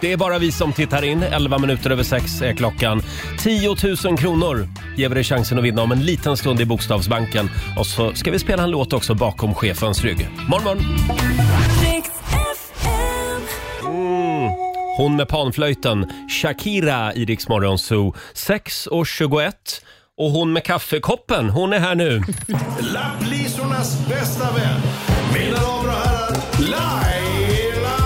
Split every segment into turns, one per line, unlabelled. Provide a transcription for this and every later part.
Det är bara vi som tittar in. 11 minuter över 6 är klockan. 10 000 kronor ger vi dig chansen att vinna om en liten stund i Bokstavsbanken. Och så ska vi spela en låt också bakom chefens rygg. Morgon, morgon! Mm. Hon med panflöjten, Shakira i Rix Morgon Zoo. 6 och 21. Och hon med kaffekoppen, hon är här nu.
Lapplisornas bästa vän. Mina damer och herrar, Laila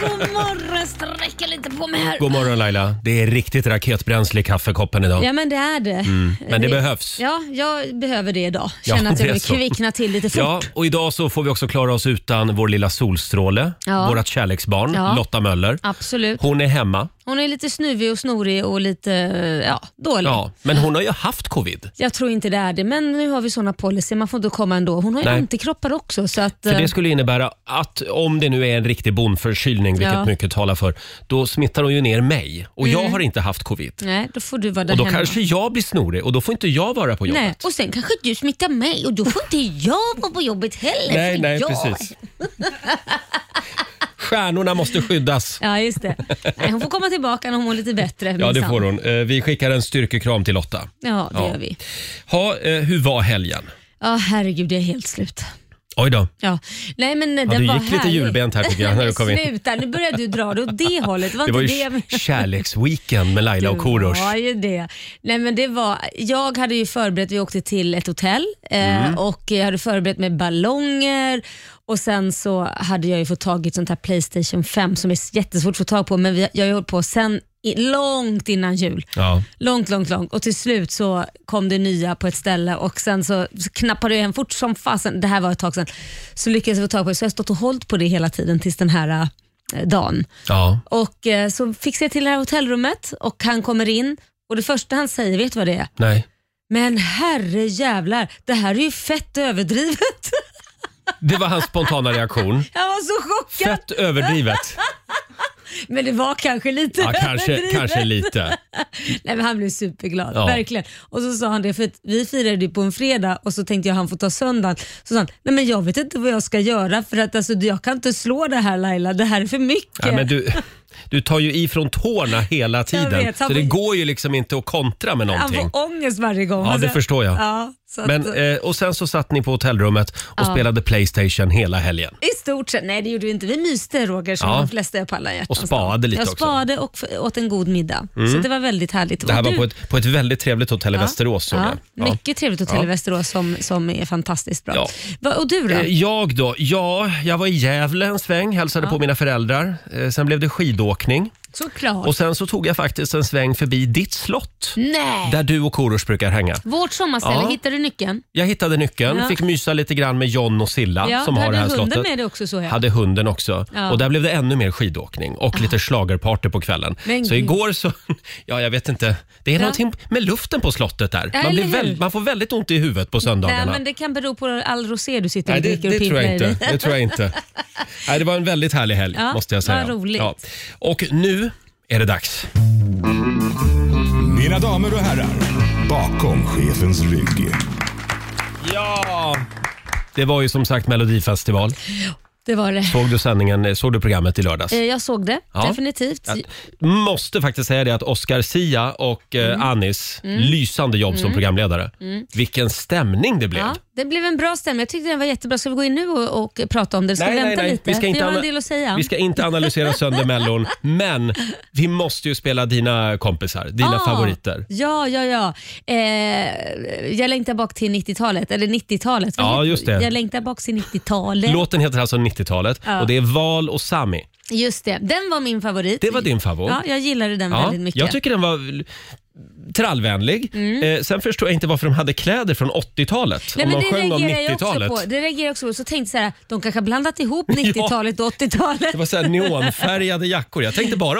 God morgon, sträcker lite på mig här.
God morgon Laila. Det är riktigt raketbränsle i kaffekoppen idag.
Ja men det är det.
Mm. Men det behövs.
Ja, jag behöver det idag.
Ja,
Känner att
det är
jag vill
så.
kvickna till lite fort.
Ja, och idag så får vi också klara oss utan vår lilla solstråle,
Ja.
vårt kärleksbarn
Ja.
Lotta Möller.
Absolut.
Hon är hemma,
Hon är lite snuvig och snorig och lite ja, dålig.
ja, men hon har ju haft covid.
Jag tror inte det är det, men nu har vi såna policy. Man får inte komma ändå. Hon har ju
Nej.
antikroppar också. Så att,
För
eh,
det skulle innebära att om det nu är en riktig bondförkylning, vilket
Ja. Mm.
mycket talar för, då smittar hon ju ner mig och jag har inte haft covid.
Nej, då får du vara där
Och då
hemma.
kanske jag blir snorig och då får inte jag vara på jobbet.
Nej, och sen kanske du smittar mig och då får inte jag vara på jobbet heller.
nej,
för
nej
jag...
precis. Stjärnorna måste skyddas.
Ja, just det. Nej, hon får komma tillbaka när hon mår lite bättre.
Ja, det
minsann.
får hon. Eh, Vi skickar en styrkekram till Lotta.
Ja, det
Ja.
gör vi.
Ha, eh, hur var helgen?
Ja, herregud, det är helt slut.
Oj då.
Ja. Nej, men den
du
var
gick lite
härlig.
julbent här, tycker jag, när du kom in.
Sluta, nu börjar du dra det åt det hållet. Det var,
Det var
inte det
ju
jag menade.
kärleksweekend med Laila och Korosh.
Det var ju det. Nej, men det var, jag hade ju förberett, vi åkte till ett hotell
Mm.
eh, och jag hade förberett med ballonger och sen så hade jag ju fått tag i ett sånt här Playstation 5 som är jättesvårt att få tag på men vi, jag har ju hållit på sen i, långt innan jul.
Ja.
Långt, långt, långt och till slut så kom det nya på ett ställe och sen så så knappade jag hem fort som fasen, det här var ett tag sedan, så lyckades jag få tag på det. Så jag har stått och hållit på det hela tiden tills den här eh, dagen.
Ja.
Och eh, så fixar jag till det här hotellrummet och han kommer in och det första han säger, vet du vad det är?
Nej.
Men herre jävlar, det här är ju fett överdrivet.
Det var hans spontana reaktion.
Jag var så chockad.
Fett överdrivet.
Men det var kanske lite
Ja, kanske,
överdrivet.
kanske lite.
Nej, men han blev superglad,
Ja.
verkligen. Och så sa han det, för att vi firade ju på en fredag och så tänkte jag han får ta söndagen. Så sa han, nej men jag vet inte vad jag ska göra för att alltså, jag kan inte slå det här Laila, det här är för mycket.
Ja, men du, du tar ju ifrån tårna hela
Jag
tiden.
vet, han
Så det
får-
går ju liksom inte att kontra med
han
någonting.
får ångest varje gång.
Ja,
Alltså,
det förstår jag.
Ja, så att,
Men, eh, och sen så satt ni på hotellrummet och spelade Playstation hela helgen.
I stort sett. Nej, det gjorde vi inte. Vi myste Roger som
Ja.
de flesta gör på alla hjärtans
Och spaade
dag.
lite
alltså. Jag
också. Mm.
spade och f- åt en god middag. Så det var väldigt härligt.
Det här
Och
var
du-
på ett, på ett väldigt trevligt hotell i Västerås. såg
ja,
jag. Ja.
Mycket trevligt hotell
Ja.
i Västerås som, som är fantastiskt bra.
Ja.
Va, och du då?
Eh, Jag då? Ja, jag var i Gävle en sväng, hälsade på mina föräldrar. Eh, Sen blev det skidåkning
Såklart.
och sen så tog jag faktiskt en sväng förbi ditt slott.
Nej!
Där du och Korosh brukar hänga.
Vårt sommarställe,
Ja.
hittade du nyckeln?
Jag hittade nyckeln,
Ja.
fick mysa lite grann med John och Silla
Ja,
som
du
har det
hade
här
hunden
slottet.
med dig också, såg jag.
Hade hunden också.
Ja.
Och där blev det ännu mer skidåkning och lite schlagerparty på kvällen.
Men
så
gud.
igår så, ja jag vet inte. Det är någonting med luften på slottet där.
Ja,
Man, blir
eller hur?
väl, man får väldigt ont i huvudet på söndagarna.
Nej, men det kan bero på all rosé du sitter
Nej,
och
det,
dricker och
det, tror jag
pimplar i
inte.
dig.
det tror jag inte. Nej, det var en väldigt härlig helg,
Ja,
måste jag
vad
säga.
roligt.
Och nu är det dags.
Mina damer och herrar, bakom chefens rygg.
Ja! Det var ju som sagt Melodifestival.
Det var det.
Såg du sändningen, eh, såg du programmet i lördags?
Eh, Jag såg det,
Ja.
definitivt.
Jag måste faktiskt säga det att Oscar Sia och eh,
Mm.
Anis, lysande jobb som programledare. Vilken stämning det blev.
Ja, det blev en bra stämning. Jag tyckte den var jättebra. Ska vi gå in nu och, och prata om det? Ska vi vänta lite?
Vi ska, inte
har en
ana-
del att säga.
vi ska inte analysera sönder Mellon, men vi måste ju spela dina kompisar, dina
Ah,
favoriter.
Ja, ja, ja. Eh, jag längtar bak till 90-talet, eller 90-talet. Vad
Ja,
heter-
just det.
Jag längtar bak till 90-talet.
Låten heter alltså 90-talet
Ja.
och det är Val och Sami.
Just det, den var min favorit.
Det var din favorit.
Ja, jag gillade den
Ja,
väldigt mycket. Mm.
jag tycker den var l- trallvänlig. Eh, sen förstår jag inte varför de hade kläder från 80-talet.
Nej,
om
men
de
det
sjöng om
reagerar jag
90-talet.
också på. Det reagerar jag också på. Så tänkte jag så här, de kanske har blandat ihop 90-talet och 80-talet.
Det var så här neonfärgade jackor. Jag tänkte bara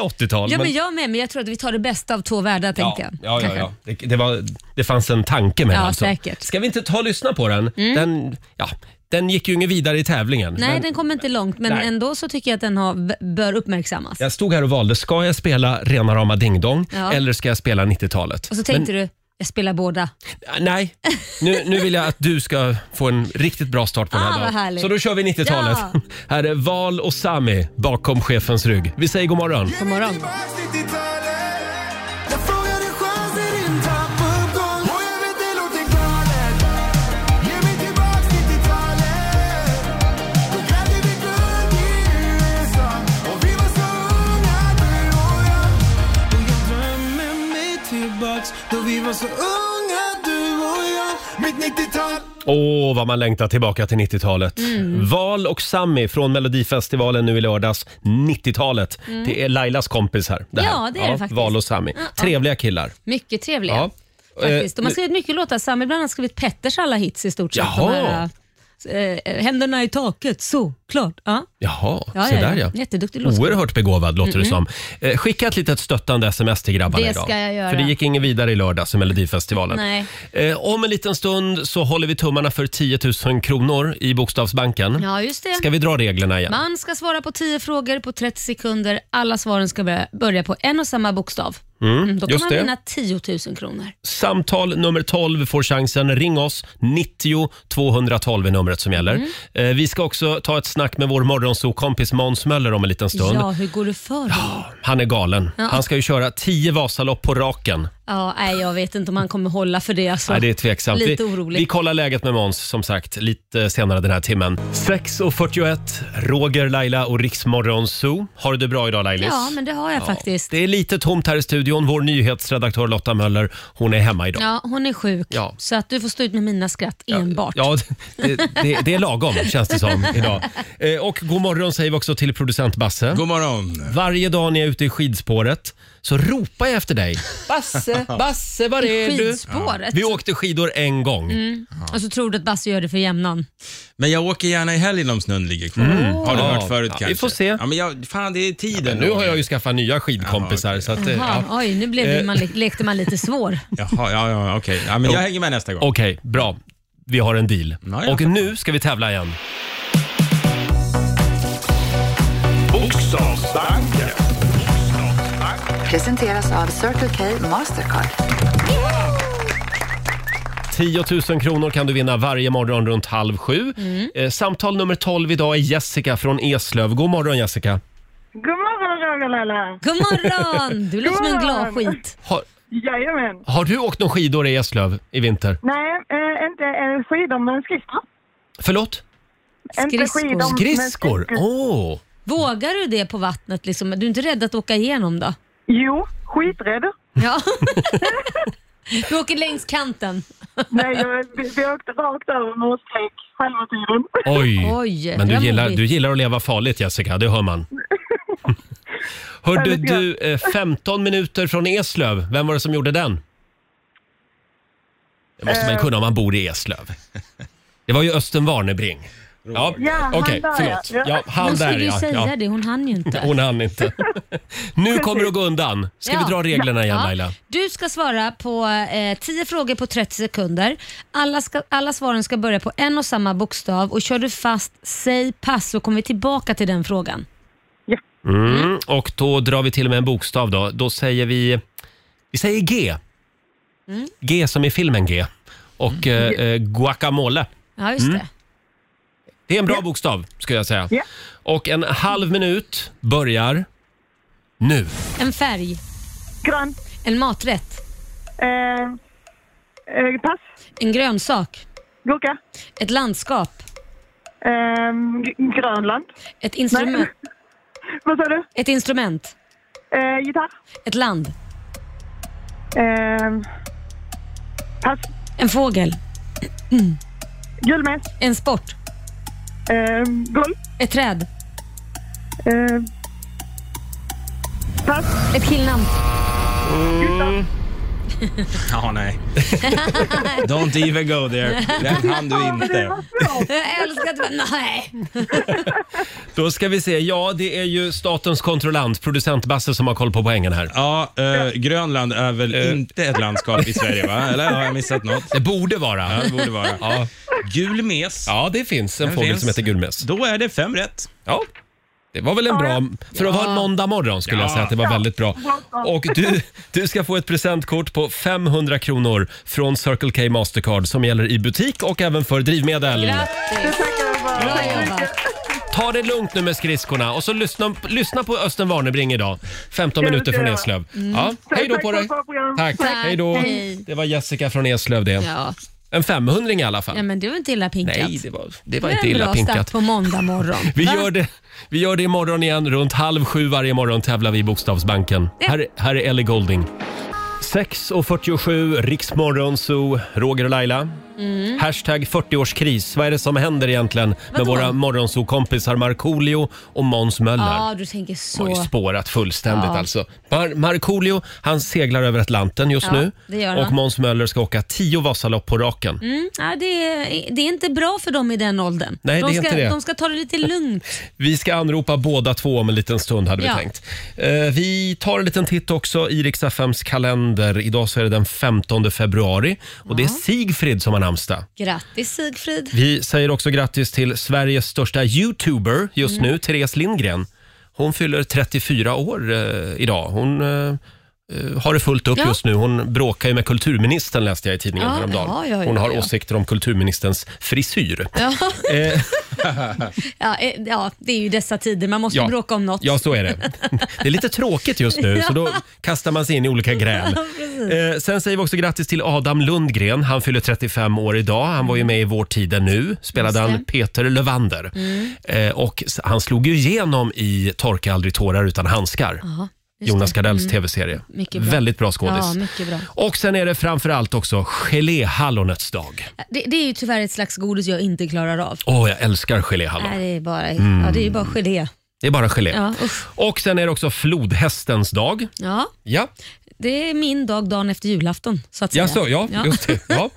80-tal.
Ja,
men-
men jag med, men jag tror att vi tar det bästa av två världar
Ja,
tänkte jag.
ja, ja,
Kanske.
ja. Det, det, var, det fanns en tanke med
Ja,
det alltså.
säkert. Mm.
Ska vi inte ta och lyssna på den? Den, ja, den gick ju inget vidare i tävlingen.
Nej,
men
den kommer inte långt, men
Nej.
ändå så tycker jag att den har, bör uppmärksammas.
Jag stod här och valde, ska jag spela rena rama ding dong
Ja.
eller ska jag spela 90-talet?
Och så tänkte du, Jag spelar båda.
Ah, Nej, nu, nu vill jag att du ska få en riktigt bra start på den
Ah,
här
vad
dagen.
härligt.
Så då kör vi 90-talet.
Ja.
Här är Val och Sami bakom chefens rygg. Vi säger god morgon.
God morgon.
Då vi var så unga du och jag Mitt 90-tal
Åh, vad man längtar tillbaka till 90-talet.
Mm.
Val och Sami från Melodifestivalen nu i lördags. 90-talet. Det är Lailas kompis här. här.
Mm. Ja, det är det faktiskt.
Val och Sami. Trevliga killar.
Mycket trevliga.
Ja.
Faktiskt.
Eh,
De har skrivit mycket låtar. Sam ibland har skrivit Petters alla hits i stort sett.
Jaha.
De här, eh, händerna i taket, så klart. Ja.
Jaha,
Ja,
se
ja, ja.
där ja.
Jätteduktig låtskrivare.
Oerhört begåvad låter det som. Eh, skicka ett litet stöttande sms till grabbarna
Det
idag.
ska jag göra.
För det gick ingen vidare i lördags i Melodifestivalen.
Nej.
Eh, om en liten stund så håller vi tummarna för 10 000 kronor i Bokstavsbanken.
Ja, just det.
Ska vi dra reglerna igen?
Man ska svara på 10 frågor på 30 sekunder. Alla svaren ska börja- börja på en och samma bokstav. Mm, då kan
just
man
det.
vinna 10 000 kronor.
Samtal nummer 12 får chansen. Ring oss. 90 212 är numret som gäller.
Mm.
Eh, vi ska också ta ett snack med vår morgonsokompis Måns Möller om en liten stund.
Ja, hur går det för honom?
Han är galen. Han ska ju köra 10 Vasalopp på raken.
Ja, nej, jag vet inte om han kommer hålla för det. Alltså.
Nej, det är tveksamt.
Lite
vi,
orolig.
vi kollar läget med Måns som sagt lite senare den här timmen. 6.41, Roger, Laila och Riksmorgon Zoo. Har du det bra idag Lailis?
Ja, men det har jag faktiskt.
Det är lite tomt här i studion. Vår nyhetsredaktör Lotta Möller, hon är hemma idag.
Ja, hon är sjuk,
Ja.
så att du får stå ut med mina skratt enbart.
Ja, det, det, det är lagom känns det som idag. Eh, Och god morgon säger vi också till producent Basse.
God morgon
Varje dag när jag är ute i skidspåret så ropar jag efter dig. Basse, Basse, var är du?
Skidspåret.
Vi åkte skidor en gång.
Mm. Och så tror du att Basse gör det för jämnan.
Men jag åker gärna i helgen om snön ligger kvar. Har du
Mm. Ja.
hört förut
Ja, vi
kanske?
får se.
Ja, men jag, fan, det är tiden.
Nu har jag ju skaffat nya skidkompisar.
Jaha, okej.
så att, eh,
Jaha,
ja. Eh.
Oj, nu blev det, man, le- lekte man lite svår.
Jaha, ja, ja, okej. Ja, men jag hänger med nästa gång.
Okej, bra. Vi har en deal.
Ja, ja.
Och nu ska vi tävla igen.
Bokstavsbanken.
Presenteras av Circle K Mastercard.
10 000 kronor kan du vinna varje morgon runt halv sju.
Mm.
Eh, Samtal nummer 12 idag är Jessica från Eslöv. God morgon Jessica.
God morgon Roger Laila!
God morgon! Du låter som en glad
morgon.
skit.
Har,
Jajamän!
har du åkt någon skidor i Eslöv i vinter?
Nej, eh, inte eh, skidor men skridskor.
Förlåt?
Inte
Skridskor.
skidor, men
Skridskor? Åh!
Vågar du det på vattnet? Liksom? Du är inte rädd att åka igenom då?
Jo, skiträdd.
Ja. du åker längs kanten.
Nej, jag, vi, vi åkte rakt över med oss streck halva tiden.
Oj!
Oj,
Men
det
du
var
gillar,
modigt.
du gillar att leva farligt Jessica, det hör man. Hörde
Ja, lite grann.
du, eh, 15 minuter från Eslöv, vem var det som gjorde den? Det måste man kunna om man bor i Eslöv. Det var ju Östen Warnerbring. Ja,
Ja,
okej,
han där,
förlåt.
ja.
Ja, han
Hon
där
skulle ju
ja.
säga
ja.
det, hon hann ju inte.
Hon hann inte. Nu kommer det att gå undan. Ska vi
Ja.
dra reglerna igen
Ja.
Laila?
Du ska svara på eh, 10 frågor på 30 sekunder. Alla, ska, alla svaren ska börja på en och samma bokstav och kör du fast, säg pass så kommer vi tillbaka till den frågan.
Mm, och då drar vi till med en bokstav då. Då säger vi... Vi säger G.
Mm.
G som i filmen G. Och eh, eh, guacamole.
Ja, just
Mm.
det.
Det är en bra bokstav, skulle jag säga.
Ja.
Och en halv minut börjar nu.
En färg,
Grön.
en maträtt,
Eh, eh, pass.
en grönsak,
Gurka.
ett landskap,
Eh, Gr- Grönland.
ett instrument,
Vad sa du?
ett, instrument
Eh, gitarr.
ett land,
Eh, pass.
en fågel,
Julmes.
en sport,
Eh, golf.
ett träd,
Eh, pass.
ett killnamn.
Ja, nej. Don't even go there. Den hann du inte.
Jag älskar att vara... Nej!
Då ska vi se. Ja, det är ju statens kontrollant, producent Basse, som har koll på poängen här. Eh.
Ja, eh, Grönland är väl inte ett landskap i Sverige, va? Eller har jag missat något?
Det borde vara.
Ja, det borde vara.
Ja.
Gul mes.
Ja, det finns en
Den
fågel
finns.
som heter gulmes.
Då är det fem rätt.
Ja. Det var väl en bra... För att vara en måndag morgon skulle jag säga att det var väldigt bra. Och du, du ska få ett presentkort på 500 kronor från Circle K Mastercard som gäller i butik och även för drivmedel.
Grattis! Bra jobbat.
Ta det lugnt nu med skridskorna och så lyssna, lyssna på Östen Warnerbring idag. 15
Ska vi
minuter från
göra?
Eslöv. Ja, hej då
Tack
på
för
dig!
ett bra program.
Tack,
Mm. Tack.
hej då!
Hej.
Det var Jessica från Eslöv det.
Ja.
En 500 i alla fall.
ja, men det var inte illa pinkat.
Nej, det var, det var
Det är
inte
en
illa
bra
pinkat.
start på måndag morgon.
Vi
Va?
gör, det, vi gör det imorgon igen. Runt halv sju varje morgon tävlar vi i Bokstavsbanken.
Ja.
Här, här är Ellie Golding. 6.47, Riksmorgon, Zoo, Roger och Laila.
Mhm. Mm.
Hashtag 40-årskris. Vad är det som händer egentligen med
Vadå?
våra morgonzoo-kompisar Markoolio och Måns Möller?
Ja, du tänker
De har ju
så.
spårat fullständigt
Ja.
alltså. Mar- Markoolio, han seglar över Atlanten just
Ja,
nu.
det gör
och
han.
Måns Möller ska åka tio Vasalopp på raken.
Mm, ja, det, är, det är inte bra för dem i den åldern.
Nej,
de,
det är
ska,
inte det.
de ska ta det lite lugnt.
Vi ska anropa båda två om en liten stund hade vi
Ja.
tänkt. Eh, vi tar en liten titt också i Rix FMs kalender. Idag så är det den 15 februari och det är Sigfrid som har namnsdag.
Grattis Sigfrid.
Vi säger också grattis till Sveriges största youtuber just
Mm.
nu, Therese Lindgren. Hon fyller 34 år eh, idag. Hon eh, eh, har det fullt upp
Ja.
just nu. Hon bråkar ju med kulturministern läste jag i tidningen
Ja,
häromdagen.
ja, ja, ja,
Hon har
ja.
åsikter om kulturministerns frisyr.
Ja.
Eh,
Ja, eh, ja, det är ju dessa tider. Man måste bråka om något.
Ja, så är det. Det är lite tråkigt just nu, så då kastar man sig in i olika gräl. Eh, sen säger vi också grattis till Adam Lundgren. Han fyller 35 år idag. Han var ju med i Vår tid är nu. Spelade han Peter Lövander.
Mm.
Eh, och s- han slog ju igenom i Torka aldrig tårar utan handskar.
Jaha, just
Jonas
det. Mm.
Gardells tv-serie.
Mycket bra.
Väldigt bra skådis.
Ja, mycket bra.
Och sen är det framför allt också geléhallonets dag.
Det, det är ju tyvärr ett slags godis jag inte klarar av.
Åh, jag älskar geléhallon.
Nej, det är bara,
Mm.
ja, det är ju bara gelé.
Det är bara gelé.
Ja, usch.
Och sen är det också flodhästens dag.
ja,
Ja.
det är min dag dagen efter julafton. Så att
Ja,
säga.
så, ja, just det. Ja.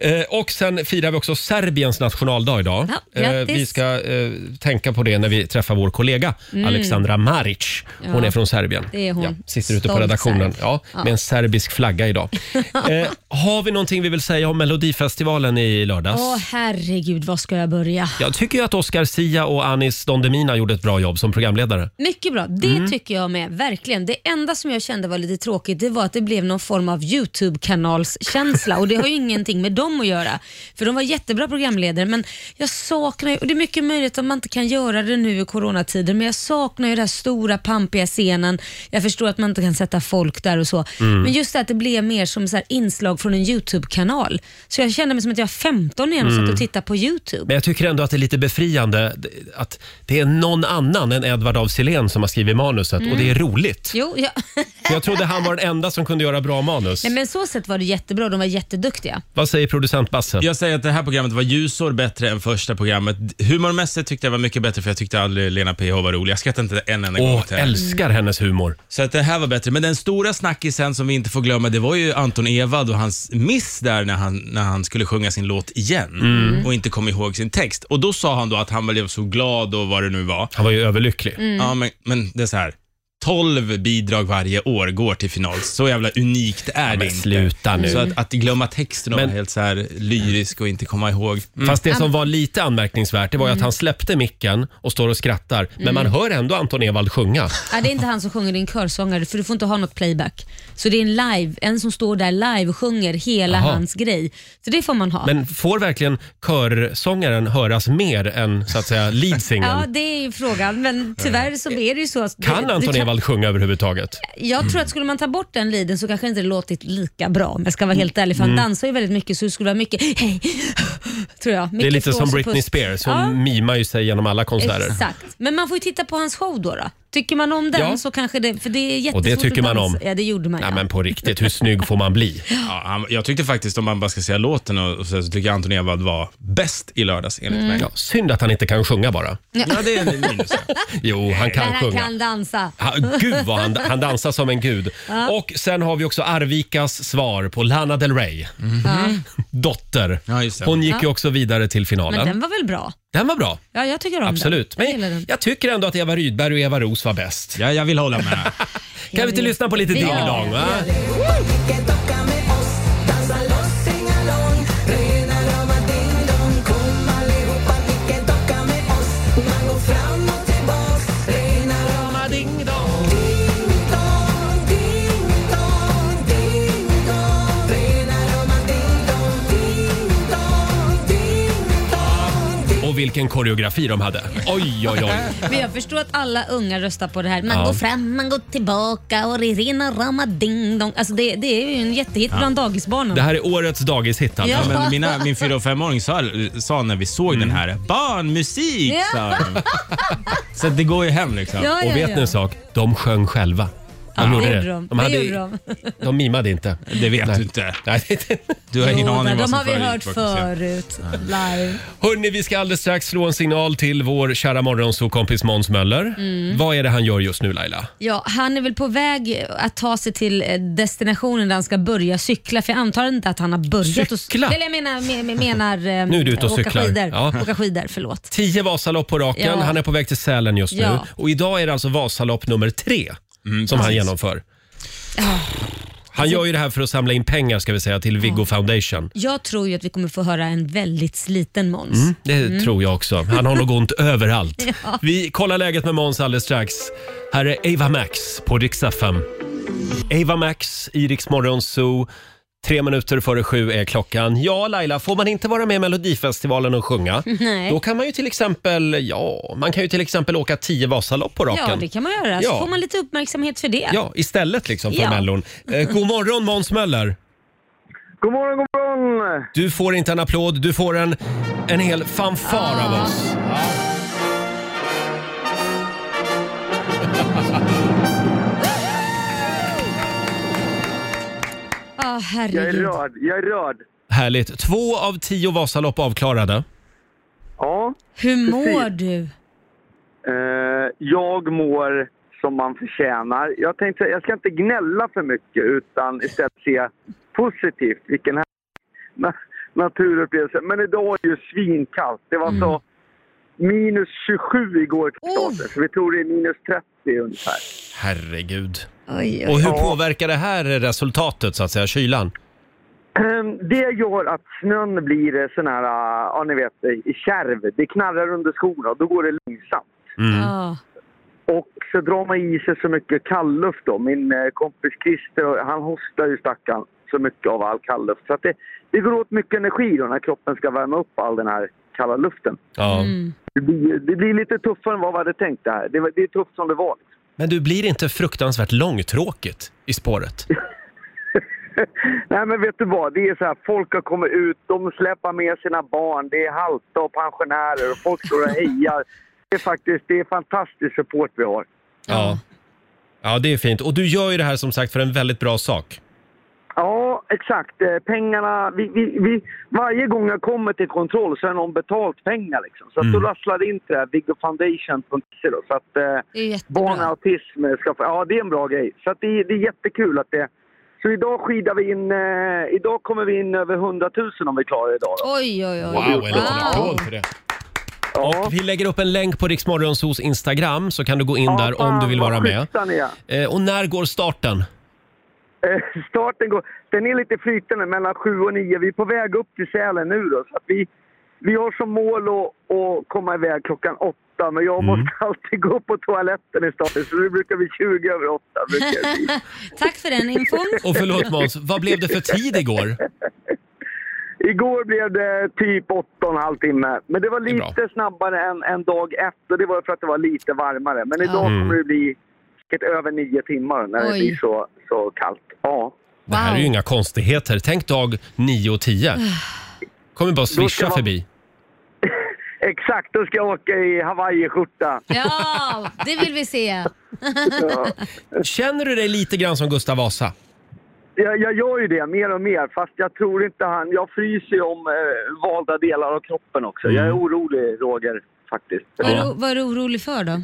Eh, och sen firar vi också Serbiens nationaldag idag.
Ja, grattis.
vi ska eh, tänka på det när vi träffar vår kollega Alexandra Maric. Hon
Mm. Ja,
är från Serbien.
det är hon.
sitter ute på
Stolt
redaktionen
serb.
ja, med en serbisk flagga idag. Eh, har vi någonting vi vill säga om Melodifestivalen i lördags?
Åh herregud, var ska jag börja?
Jag tycker ju att Oscar Sia och Anis Don Demina gjorde ett bra jobb som programledare.
Mycket bra, det
Mm.
tycker jag med. Verkligen. Det enda som jag kände var lite tråkigt det var att det blev någon form av YouTube-kanalskänsla och det har ju ingenting med dem att göra. För de var jättebra programledare men jag saknar ju, och det är mycket möjligt att man inte kan göra det nu i coronatider, men jag saknar ju den här stora pampiga scenen. Jag förstår att man inte kan sätta folk där och så,
Mm.
men just det att det blev mer som så här inslag från en YouTube-kanal. Så jag kände mig som att jag var 15 igen och
Mm.
satt och tittade på YouTube.
Men jag tycker ändå att det är lite befriande att det är någon annan än Edvard af Sillén som har skrivit manuset och
Mm.
det är roligt.
Jo, ja.
För Jag trodde han var den enda som kunde göra bra manus.
Nej, men så sett var det jättebra, de var jätteduktiga.
Vad säger producent Basse?
Jag säger att det här programmet var ljusår bättre än första programmet. Humormässigt tyckte jag var mycket bättre för jag tyckte aldrig Lena PH var rolig. Jag skrattade inte en enda gång
Åh,
till henne.
älskar hennes humor.
Så att det här var bättre. Men den stora snackisen som vi inte får glömma, det var ju Anton Ewald och hans miss där när han, när han skulle sjunga sin låt igen
Mm.
och inte kom ihåg sin text. Och då sa han då att han blev så glad och vad det nu var.
Han var ju överlycklig.
Ja, men, men det är så här. 12 bidrag varje år går till final. Så jävla unikt är det
Men
inte.
sluta nu.
Så att, att glömma texten och
Men- Mm.
vara helt så här lyrisk och inte komma ihåg.
Fast
Mm.
det som var lite anmärkningsvärt det var ju att han släppte micken och står och skrattar.
Mm.
Men man hör ändå Anton Ewald sjunga.
Ja, det är inte han som sjunger, det är en körsångare för du får inte ha något playback. Så det är en live, en som står där live och sjunger hela
Jaha.
hans grej. Så det får man ha.
Men får verkligen körsångaren höras mer än så att säga leadsingen?
ja, det är ju frågan. Men tyvärr så är det ju så. Att
Eh, Kan
det,
Anton
det
Ewald sjunga överhuvudtaget?
Jag tror att skulle man ta bort den liden så kanske inte det låtit lika bra om jag ska vara helt ärlig. För
Mm.
han dansar ju väldigt mycket så det skulle vara mycket hej, tror jag.
Det är
Mycket
lite som
flås och
Britney
puss.
Spears. Hon
Ja.
mimar ju sig genom alla konserter.
Exakt, men man får ju titta på hans show då. då. Tycker man om den
Ja.
så kanske det, för det är jättesvårt
Och det tycker
att
man
dansa.
om.
Ja, det gjorde man
Nej
ja.
men på riktigt, hur snygg får man bli?
Ja, han, jag tyckte faktiskt, om man bara ska säga låten, och, och så, så tycker jag Anton Ewald var bäst i lördags enligt
Mm.
mig.
Ja, synd att han inte kan sjunga bara.
Ja, det är en minus.
Jo, han kan
Men han
sjunga.
kan dansa.
Ha, gud vad han, han dansar som en gud. Och sen har vi också Arvikas svar på Lana Del Rey. Dotter.
Ja, just det.
Hon gick ju också vidare till
Men
finalen. Den...
den Mm. var väl bra?
var bra.
Ja, jag tycker om den.
Absolut.
Jag gillar
Men
den.
jag tycker ändå att Eva Rydberg och Eva Ros var bäst.
Ja, jag vill hålla med.
Kan vi inte
vet.
lyssna på lite
Vi gör
Ding
det.
Dong? Va? och vilken koreografi de hade. Oj, oj, oj.
Men jag förstår att alla unga röstar på det här. Man
Ja.
går fram, man går tillbaka och ririna rama ding dong. Alltså det, det är ju en jättehit bland dagisbarnen.
Det här är årets dagishit. Anna.
Ja.
Men mina, min fyra och femåring sa, sa när vi såg den här,
Mm.
barnmusik
Ja.
sa de. Så det går ju hem liksom.
Ja, ja,
Och vet
ja.
ni en sak? De sjöng själva. De
det
gjorde
gjorde de. Det gjorde
de mimade inte.
Det vet
Nej.
du inte.
Nej, det-
Du har ingen
Jo,
aning
men
vad
de
som
har vi
försiggick
hört
bakom scenen.
förut live.
Hörni, vi ska alldeles strax slå en signal till vår kära morgonsåkompis Måns Möller.
Mm.
Vad är det han gör just nu Laila?
Ja, han är väl på väg att ta sig till eh, destinationen där han ska börja cykla. För jag antar inte att han har börjat att
Cykla?
Eller jag menar, me- me- menar eh,
Nu är du ute och
åka
cyklar.
Skidor.
Ja.
Åka skidor, förlåt.
Tio Vasalopp på raken.
Ja.
Han är på väg till Sälen just nu.
Ja.
Och idag är det alltså Vasalopp nummer tre som han genomför. Han gör ju det här för att samla in pengar ska vi säga till Viggo Foundation.
Jag tror ju att vi kommer få höra en väldigt sliten Måns.
Mm, Det
Mm.
tror jag också. Han har nog ont överallt. Vi kollar läget med Måns alldeles strax. Här är Ava Max på Rix FM. Ava Max i Rix Morgon Zoo. Tre minuter före sju är klockan. Ja, Laila, får man inte vara med i Melodifestivalen och sjunga,
Nej.
då kan man ju till exempel, ja, man kan ju till exempel åka tio Vasalopp på raken.
Ja, det kan man göra. Så
Ja.
får man lite uppmärksamhet för det.
Ja, istället liksom för
Ja.
Mellon. Eh, god morgon Måns Möller.
God morgon, god morgon!
Du får inte en applåd, du får en, en hel fanfar av oss.
Ja,
Jag är
herregud.
rörd, jag är rörd.
Härligt. Två av tio Vasalopp avklarade.
Ja,
Hur mår du?
eh, jag mår som man förtjänar. Jag tänkte säga, jag ska inte gnälla för mycket utan istället se positivt. Vilken här na- naturupplevelse. Men idag är det ju svinkallt. Det var så
Mm.
minus 27 igår till
Oh.
starten. Så vi tror det är minus 30 ungefär.
Herregud.
Oj, oj.
Och hur
Ja.
påverkar det här resultatet, så att säga, kylan?
Ehm, Det gör att snön blir eh, sån här, ah, ja ni vet, eh, kärv. Det knarrar under skorna och då går det långsamt.
Mm.
Ja.
Och så drar man i sig så mycket kalluft då. Min eh, kompis Christer, han hostar ju stackarn så mycket av all kalluft. Så att det, det går åt mycket energi då när kroppen ska värma upp all den här kalla luften.
Ja.
Mm.
Det blir, det blir lite tuffare än vad vi hade tänkt det här. Det, var- det är tufft som det var.
Men du blir inte fruktansvärt långtråkigt i spåret?
Nej men vet du vad, det är så här, folk har kommit ut, de släpar med sina barn, det är halta och pensionärer och folk står och hejar. Det är faktiskt, det är fantastisk support vi har.
Ja. Ja, det är fint. Och du gör ju det här som sagt för en väldigt bra sak.
Ja, exakt. Eh, Pengarna... Vi, vi, vi, varje gång jag kommer till kontroll så har någon betalt pengar. Liksom. Så att
Mm.
då rasslar det in till det här viggofoundation.se. då, Så att
Det är
eh,
jättebra.
barn med autism ska få... Ja, det är en bra grej. Så att det, det är jättekul att det... Så idag skidar vi in... Eh, idag kommer vi in över 100 000 om vi klarar idag. Då.
Oj, oj, oj.
för det.
Ja.
Och vi lägger upp en länk på Riksmorgonsos Instagram så kan du gå in
Ja,
där om
fan,
du vill
vad
vara med.
schyssta ni är.
Eh, Och när går starten?
Eh, starten går, den är lite flytande mellan 7 och 9. Vi är på väg upp till Sälen nu då. Så att vi, vi har som mål att, att komma iväg klockan 8. Men
Mm.
jag måste alltid gå på toaletten i starten så det brukar bli 20 över 8. Brukar det bli.
Tack för den infon.
Och förlåt Måns, vad blev det för tid igår?
Igår blev det typ 8,5 timme. Men det var
är bra.
lite snabbare än, än dag efter. Det var för att det var lite varmare. Men idag
Mm.
kommer det bli säkert över 9 timmar när det
Oj.
blir så, så kallt. Ja.
Det här är ju
Wow.
inga konstigheter. Tänk dag 9 och 10. Kommer bara swisha
man-
förbi.
Exakt, då ska jag åka i hawaiiskjorta.
Ja, det vill vi se.
Ja.
Känner du dig lite grann som Gustav Vasa?
Jag, jag gör ju det mer och mer, fast jag tror inte han... Jag fryser ju om eh, valda delar av kroppen också. Jag
Mm.
är orolig, Roger, faktiskt.
Vad är, du- vad är du orolig för då?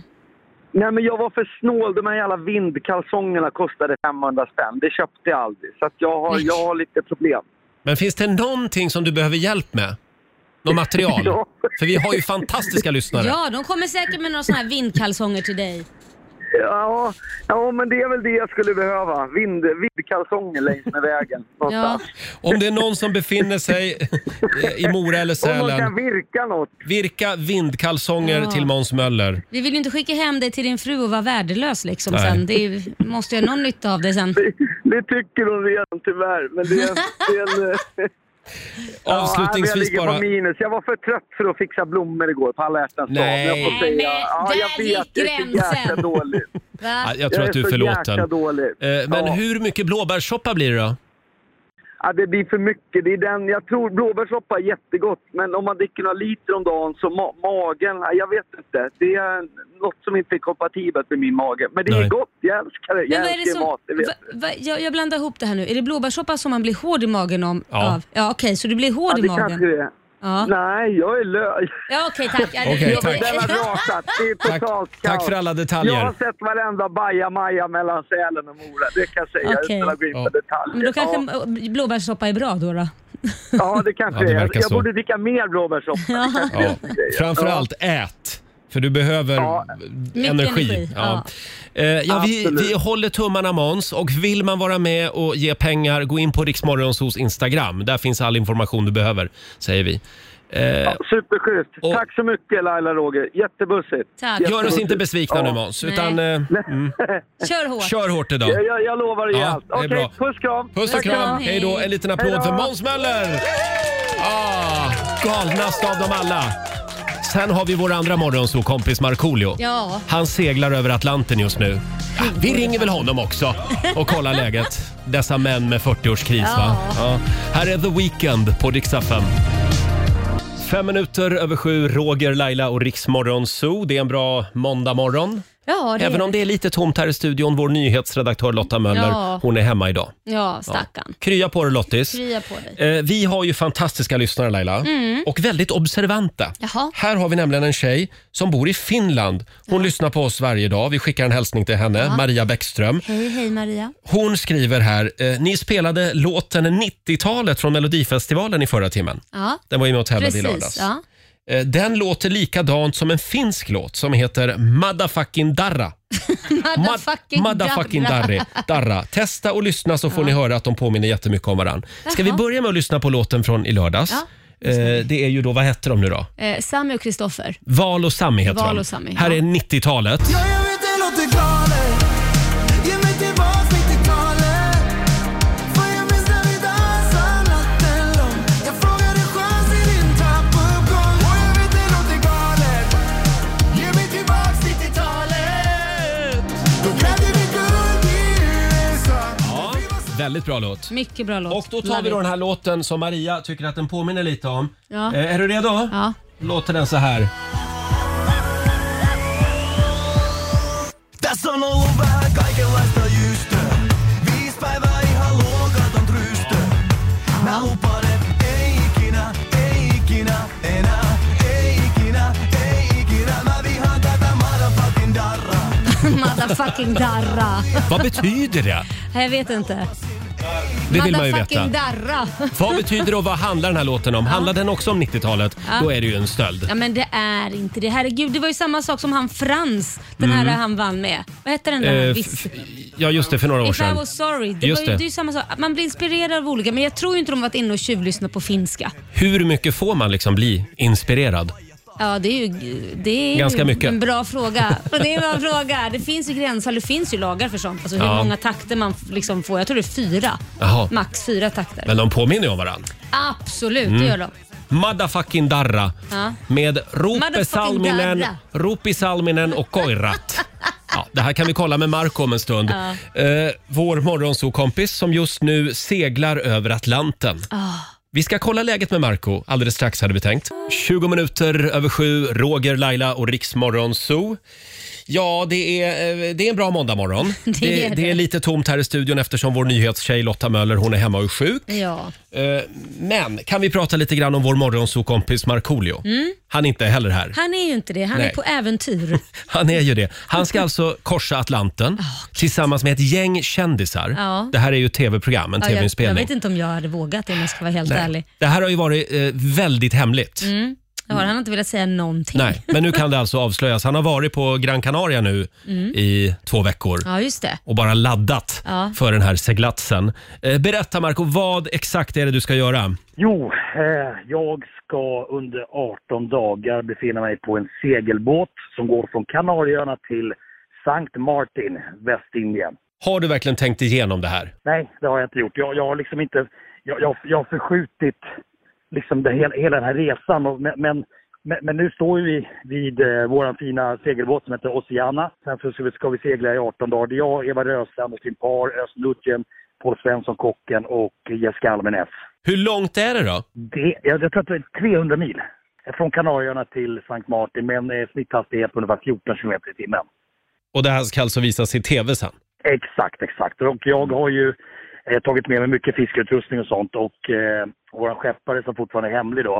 Nej, men jag var för snål. De här jävla vindkalsongerna kostade 500 spänn. Det köpte jag aldrig, så att jag, har,
Nej.
jag har lite problem.
Men finns det någonting som du behöver hjälp med? Något material?
Ja.
För vi har ju fantastiska lyssnare.
Ja, de kommer säkert med några sådana här vindkalsonger till dig.
Ja, ja, men det är väl det jag skulle behöva. Vind, vindkalsonger längs med vägen.
Ja.
någonstans.
Om det är någon som befinner sig i Mora eller
Om man kan
Sälen,
virka något.
virka vindkalsonger
Ja.
till Måns Möller.
Vi vill ju inte skicka hem dig till din fru och vara värdelös liksom
Nej.
sen. Det är, ju- måste ju ha någon nytta av dig sen.
Det, det tycker hon redan, tyvärr. Men det, är- det är en... eh,
Avslutningsvis
jag ligger
bara...
på minus. Jag var för trött för att fixa blommor igår på alla hjärtans dag.
Nej.
Jag får säga.
Nej, men
Ja, jag
där
vet,
gick
det är så jäkla
gränsen.
dåligt.
Va?
Ja, Jag tror
jag
att du är
så
förlåten.
jäkla dålig.
Eh, Men
Ja.
hur mycket blåbärssoppa blir det då?
Ja, det blir för mycket. Det är den, jag tror blåbärssoppa är jättegott, men om man dricker några liter om dagen så ma- magen, ja, jag vet inte. Det är något som inte är kompatibelt med min mage. Men det
Nej.
är gott, jag älskar det.
Men
Jag
vad är det
älskar
som,
mat, det vet
va,
du.
va, jag, jag blandar ihop det här nu. Är det blåbärssoppa som man blir hård i magen om,
Ja.
av? Ja, okej, så du blir hård
Ja,
i
det kanske
magen?
det är.
Ja.
Nej, jag är lö...
ja, okej tack. Ja, det-
Okej,
det-
tack.
Den har rasat. Det är
Tack,
totalt
tack
kaos.
för alla
Jag har
detaljer.
sett varenda bajamaja mellan Sälen och Mora, det kan jag säga
Okej.
utan att gå in på
Ja.
detaljer.
Men då
ja,
kanske eh, blåbärssoppa är bra då? då.
ja, det kanske
Ja, det
är.
verkar
Jag, jag
så.
borde dricka mer blåbärssoppa. Det kanske är
Ja.
det som är grejen.
Framförallt ät. För du behöver
Ja.
energi.
energi,
Ja. Eh, Ja, vi,
Absolut.
vi håller tummarna Måns och vill man vara med och ge pengar gå in på Riksmorgonsos Instagram. Där finns all information du behöver säger vi. Eh,
Ja, superschysst.
Och-
Tack så mycket Laila Roger. Jättebussigt.
Tack.
Jättebussigt.
Gör oss inte besvikna nu Måns utan eh,
Kör hårt.
kör hårt idag.
Jag, jag, jag lovar att ge
Ja,
allt.
det är
Okej,
bra.
puss kram.
Puss och kram.
Hej.
Hej då. En liten applåd
Hej då.
för Måns Möller. Ah, galnast av dem alla. Sen har vi vår andra morgonsåkompis Markoolio.
Ja.
Han seglar över Atlanten just nu. Ah, Vi ringer väl honom också och kollar läget. Dessa män med 40-årskris va? Ja. Här är The Weeknd på Dix FM. Fem minuter över sju, Roger, Laila och Riksmorgon Zoo. Det är en bra måndagmorgon.
Ja, det
Även
är-
om det är lite tomt här i studion. Vår nyhetsredaktör Lotta Möller,
Ja.
hon är hemma idag.
Ja, stackarn.
Krya på dig Lottis.
Krya på dig.
Eh, vi har ju fantastiska lyssnare Laila och väldigt observanta.
Mm. Jaha.
Här har vi nämligen en tjej som bor i Finland. Hon lyssnar på oss varje dag. Vi skickar en hälsning till henne, Maria Bäckström.
Hej, hej Maria.
Hon skriver här, eh, ni spelade låten 90-talet från Melodifestivalen i förra timmen.
Ja,
Den var ju med och tävlade i
precis.
lördags.
Ja.
Eh, den låter likadant som en finsk låt som heter Motherfucking Darra.
Motherfucking
Mad- motherfucking
darra.
darri, darra. Testa och lyssna så får ni höra att de påminner jättemycket om varann. Ska vi börja med att lyssna på låten från i lördags? Eh, det är ju då, vad hette de nu då?
Eh, Sami och Kristoffer.
Val och Sammy heter
Val
de.
och Sammy,
Här
ja.
är 90-talet.
Ja, jag vet det låter galet Ge mig tillbaks 90-talet För jag minns när vi dansade natten lång Jag frågade chans i din trappuppgång Ja, jag vet det låter galet Ge mig tillbaks 90-talet Då grävde vi guld i USA
Ja, väldigt bra låt.
Mycket bra låt.
Och då tar
Love
vi då
it.
den här låten som Maria tycker att den påminner lite om.
Ja.
Eh, är du redo?
Ja.
Låter den så här.
Tässä on ollut vähän kaikenlaista jystöä Viis päivää ihan luokaton rystö Mä lupaan, et ei ikinä, ei ikinä enää Ei ikinä, ei ikinä Mä vihaan tätä motherfucking darraa
Motherfucking darra.
Vad betyder det?
Jag vet inte.
Det vill man ju veta.
Motherfucking darra.
Vad betyder det och vad handlar den här låten om? Handlar den också om 90-talet?
Ja.
Då är det ju en stöld.
Ja men det är inte det. Herregud, det var ju samma sak som han Frans, den här han vann med. Vad hette den där?
Mm. Eh,
han
f-
visste?
ja, just det. För några år
If I
sedan.
was sorry. Det,
Just
var ju,
det.
det. är ju samma sak. Man blir inspirerad av olika, men jag tror ju inte de varit inne och tjuvlyssnat på finska.
Hur mycket får man liksom bli inspirerad?
Ja, det är ju, det är
Ganska
ju
mycket.
en bra fråga. Och det är en bra fråga. Det finns ju gränser, det finns ju lagar för sånt. Alltså hur
Ja.
många takter man liksom får. Jag tror det är fyra.
Jaha.
Max fyra takter.
Men Mm. de påminner ju om varandra.
Absolut, det gör de.
Motherfucking Darra
Ja.
med Rope
Motherfucking
Salminen,
Darra.
Ropi Salminen och Koirat. Ja, det här kan vi kolla med Marco om en stund. Eh, vår morgonsokompis som just nu seglar över Atlanten.
Ah.
Vi ska kolla läget med Marco alldeles strax hade vi tänkt. 20 minuter över sju, Roger, Laila och Riksmorgon Zoo. Ja, det är, eh, det är en bra måndagmorgon. det,
är det.
det är lite tomt här i studion eftersom vår nyhetstjej Lotta Möller hon är hemma och är sjuk.
Ja.
Eh, Men kan vi prata lite grann om vår morgonsokompis Markoolio? Han är inte heller här.
Mm. Han är ju inte det. Han
Nej.
är på äventyr.
Han är ju det. Han ska alltså korsa Atlanten tillsammans med ett gäng kändisar.
Ah, Ja.
Det här är ju ett tv-program, en
Ja, jag, jag
tv-inspelning.
vet inte om jag hade vågat det om jag ska vara helt
Nej.
ärlig.
Det här har ju varit eh, väldigt hemligt.
Mm, Ja, Han har inte velat säga någonting.
Nej, men nu kan det alltså avslöjas. Han har varit på Gran Canaria nu i två veckor
Mm. Ja, just det.
och bara laddat
Ja.
för den här seglatsen. Eh, Berätta Marco, vad exakt är det du ska göra?
Jo, eh, jag ska under 18 dagar befinna mig på en segelbåt som går från Kanarieöarna till Sankt Martin, Västindien.
Har du verkligen tänkt igenom det här?
Nej, det har jag inte gjort. Jag, jag har liksom inte jag, jag, jag har förskjutit liksom det, hela, hela den här resan. Och, men, men, men- men nu står ju vi vid eh, vår fina segelbåt som heter Oceana. Sen så ska vi, ska vi segla i 18 dagar. Det är jag, Eva Rösland och sin par, Özz Nujen, Paul Svensson, kocken och Jessica Almenäs.
Hur långt är det då?
Det, jag, jag tror att det är 300 mil. Från Kanarieöarna till Sankt Martin med en eh, snitthastighet på ungefär 14 km i timmen.
Och det här ska alltså visas i tv sen?
Exakt, exakt. Och jag har ju eh, tagit med mig mycket fiskeutrustning och sånt och eh, vår skeppare som fortfarande är hemlig då,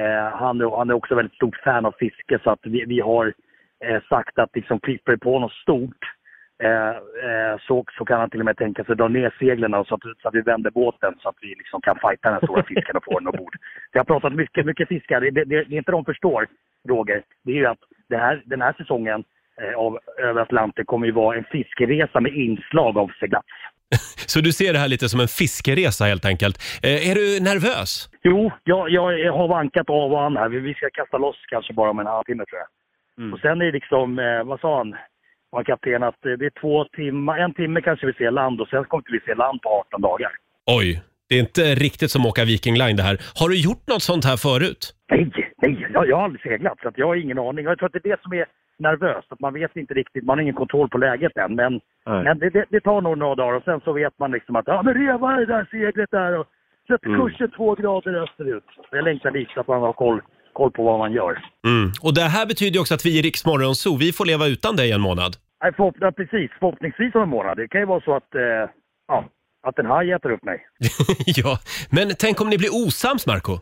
eh, han, är- han är också väldigt stort fan av fiske så att vi, vi har eh, sagt att liksom klipper det på något stort eh, eh, så, så kan han till och med tänka sig att dra ner seglen och så, att, så att vi vänder båten så att vi liksom kan fighta den här stora fisken och få den ombord. Så jag har pratat mycket, mycket fiskar. Det, det, det, det inte de förstår, Roger, det är ju att det här, den här säsongen eh, av Över Atlanten kommer ju vara en fiskeresa med inslag av seglats.
Så du ser det här lite som en fiskeresa helt enkelt. Eh, är du nervös?
Jo, jag, jag har vankat av och an här. Vi- Vi ska kasta loss kanske bara om en halvtimme tror jag. Och sen är det liksom, eh, vad sa han, var kapten, att eh, det är två timmar, en timme kanske vi ser land och sen kommer inte vi se land på 18 dagar.
Oj, det är inte riktigt som att åka Viking Line det här. Har du gjort något sånt här förut?
Nej, nej, jag, jag har aldrig seglat så att jag har ingen aning. Jag tror att det är det som är nervöst, att man vet inte riktigt, man har ingen kontroll på läget än. Men, men det, det, det tar nog några dagar och sen så vet man liksom att ja men reva det där seglet där och sätt kursen två grader österut. Jag längtar dit så att man har koll, koll på vad man gör.
Mm. Och det här betyder ju också att vi i Rix Morgon Zoo, vi får leva utan dig en månad.
Nej, förhopp- ja, precis, förhoppningsvis om en månad. Det kan ju vara så att, eh, ja, att en haj äter upp mig.
ja, men tänk om ni blir osams Marco?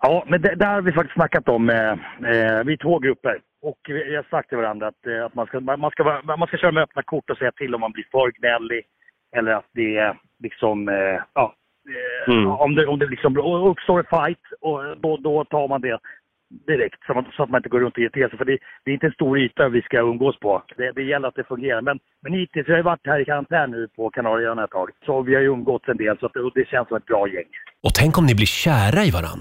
Ja, men det, där har vi faktiskt snackat om. Eh, eh, vi är två grupper. Och vi vi har sagt till varandra att, eh, att man, ska, man, man, ska, vara- man ska köra med öppna kort och säga till om man blir för gnällig. Eller att det är liksom, eh, ja. eh, Om det, om det liksom och uppstår en fight, och då, då tar man det direkt. Så, man, så att man inte går runt och irriterar sig. För det, det är inte en stor yta vi ska umgås på. Det, det gäller att det fungerar. Men, men hittills, jag har ju varit här i karantän nu på Kanarieöarna ett tag. Så vi har ju umgåtts en del. Så att, det- och det känns som ett bra gäng.
Och tänk om ni blir kära i varann?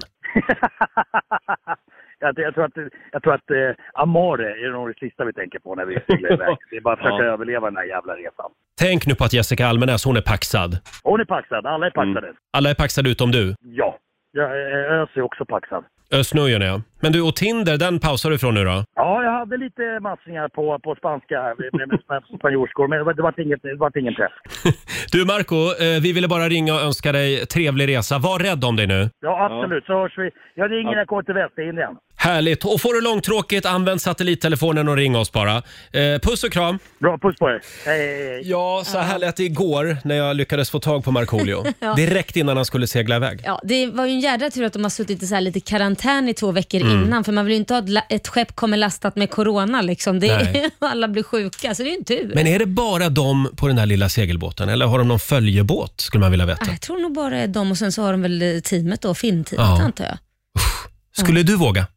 jag, jag tror att, jag tror att eh, Amare är nog det sista vi tänker på när vi seglar iväg. Det är bara att försöka överleva den här jävla resan.
Tänk nu på att Jessica Almenäs, hon är paxad.
Hon är paxad, alla är paxade.
Alla är paxade utom du.
Ja. Jag, eh, Ös är också paxad.
Ösnöjen är jag. Men du, och Tinder, den pausar du från nu då?
Ja, jag hade lite matchningar på, på spanska, här, med- med- med spanjorskor, men det var- det vart inget, det vart ingen träff.
Du Marco, eh, vi ville bara ringa och önska dig trevlig resa. Var rädd om dig nu.
Ja, absolut, så hörs vi. Jag ringer när jag kommer till Västindien.
Härligt! Och får du långtråkigt, använd satellittelefonen och ring oss bara. Eh, puss och kram!
Bra, puss på er. Hej, hej, hej.
Ja, så här lät det igår när jag lyckades få tag på Markoolio. Direkt innan han skulle segla iväg.
Ja, det var ju en jädra tur att de har suttit i så här lite karantän i två veckor
Mm.
innan, för man vill ju inte ha ett, la- ett skepp kommer lastat med corona. Liksom. Det
Nej.
är, alla blir sjuka, så det är ju en tur.
Men är det bara de på den här lilla segelbåten eller har de någon följebåt skulle man vilja veta?
Ah, jag tror nog bara det är de och sen så har de väl eh, teamet då, filmteamet
Ja.
antar jag.
Ah.
Skulle du våga?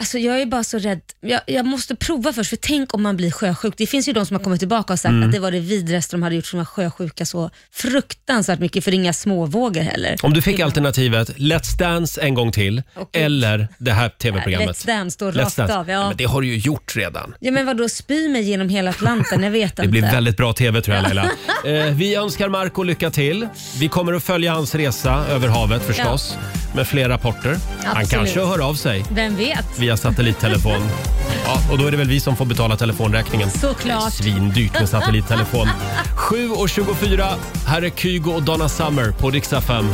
Alltså jag är bara så rädd. Jag, jag måste prova först, för tänk om man blir sjösjuk. Det finns ju de som har kommit tillbaka och sagt
Mm.
att det var det vidrigaste de hade gjort, för de var sjösjuka så fruktansvärt mycket, för det är inga småvågor heller.
Om du fick alternativet Let's Dance en gång till
Okej.
eller det här tv-programmet.
Let's Dance då,
Let's
rakt
Dance.
av.
Nej,
Ja.
Men det har du ju gjort redan.
Ja men vadå, spy mig genom hela Atlanten? Jag vet
Det
inte.
blir väldigt bra tv tror jag Laila. eh, vi önskar Marco lycka till. Vi kommer att följa hans resa över havet förstås med fler rapporter. Han
Absolut.
kanske hör av sig
Vem vet?
via satellittelefon. Ja, och då är det väl vi som får betala telefonräkningen.
Såklart.
Svindyrt med satellittelefon. 7.24, här är Kygo och Donna Summer på Riksdag 5.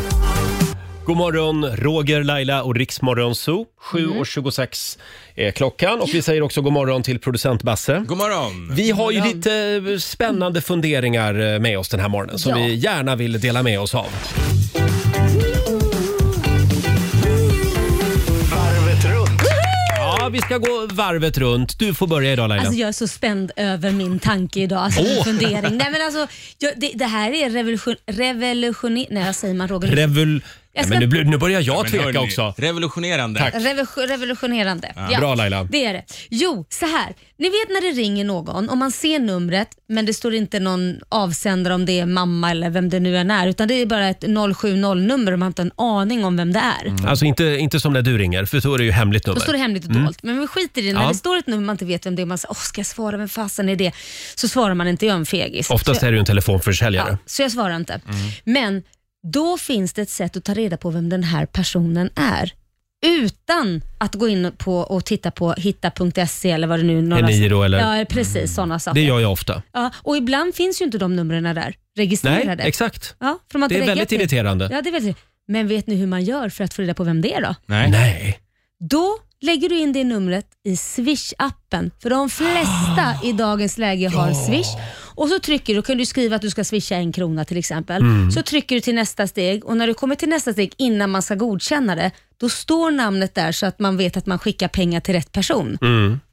God morgon, Roger, Laila och Riksmorgon Zoo.
Mm.
7.26 är klockan och vi säger också god morgon till producent Basse.
God morgon.
Vi har ju lite eh, spännande funderingar eh, med oss den här morgonen som
Ja.
vi gärna vill dela med oss av.
Varvet runt.
Ja, vi ska gå varvet runt. Du får börja idag Laila.
Alltså jag är så spänd över min tanke idag, alltså min
Åh.
fundering. Nej, men alltså, jag, det, det här är revolution, revolutionär... Nej, vad säger man Roger?
Revol... Nej,
Jag ska-
men nu, blir- nu börjar jag
Men
tveka
hörni,
också.
Revolutionerande.
Tack.
Revolution- Revolutionerande. Ja.
Bra, Laila.
Det är det. Jo, så här. Ni vet när det ringer någon och man ser numret men det står inte någon avsändare om det är mamma eller vem det nu än är utan det är bara ett 070-nummer och man har inte en aning om vem det är.
Alltså inte, inte som när du ringer, för då är det ju hemligt
Då står det
nummer. Mm.
hemligt och dolt. Men vi skiter i det. När
Ja.
det står ett nummer man inte vet vem det är man säger, åh ska jag svara, vem fasen är det? Så svarar man inte, jag är en fegis.
Oftast är det ju en telefonförsäljare.
Ja, så jag svarar inte. Men Då finns det ett sätt att ta reda på vem den här personen är utan att gå in på och titta på hitta.se eller vad det nu är. några-
NI då, eller? Mm.
Ja, precis. Sådana
Det
saker.
gör jag ofta.
Ja, och ibland finns ju inte de numren där
Nej,
registrerade.
exakt.
Ja, för de har
Det
inte
är väldigt
räckat till.
irriterande.
Ja, det är väldigt Men vet ni hur man gör för att få reda på vem det är då?
Nej.
Nej.
Då lägger du in det numret i Swish-appen, för de flesta i dagens läge har Swish. Och så trycker du, kan du skriva att du ska swisha en krona till exempel.
Mm.
Så trycker du till nästa steg och när du kommer till nästa steg innan man ska godkänna det, då står namnet där så att man vet att man skickar pengar till rätt person.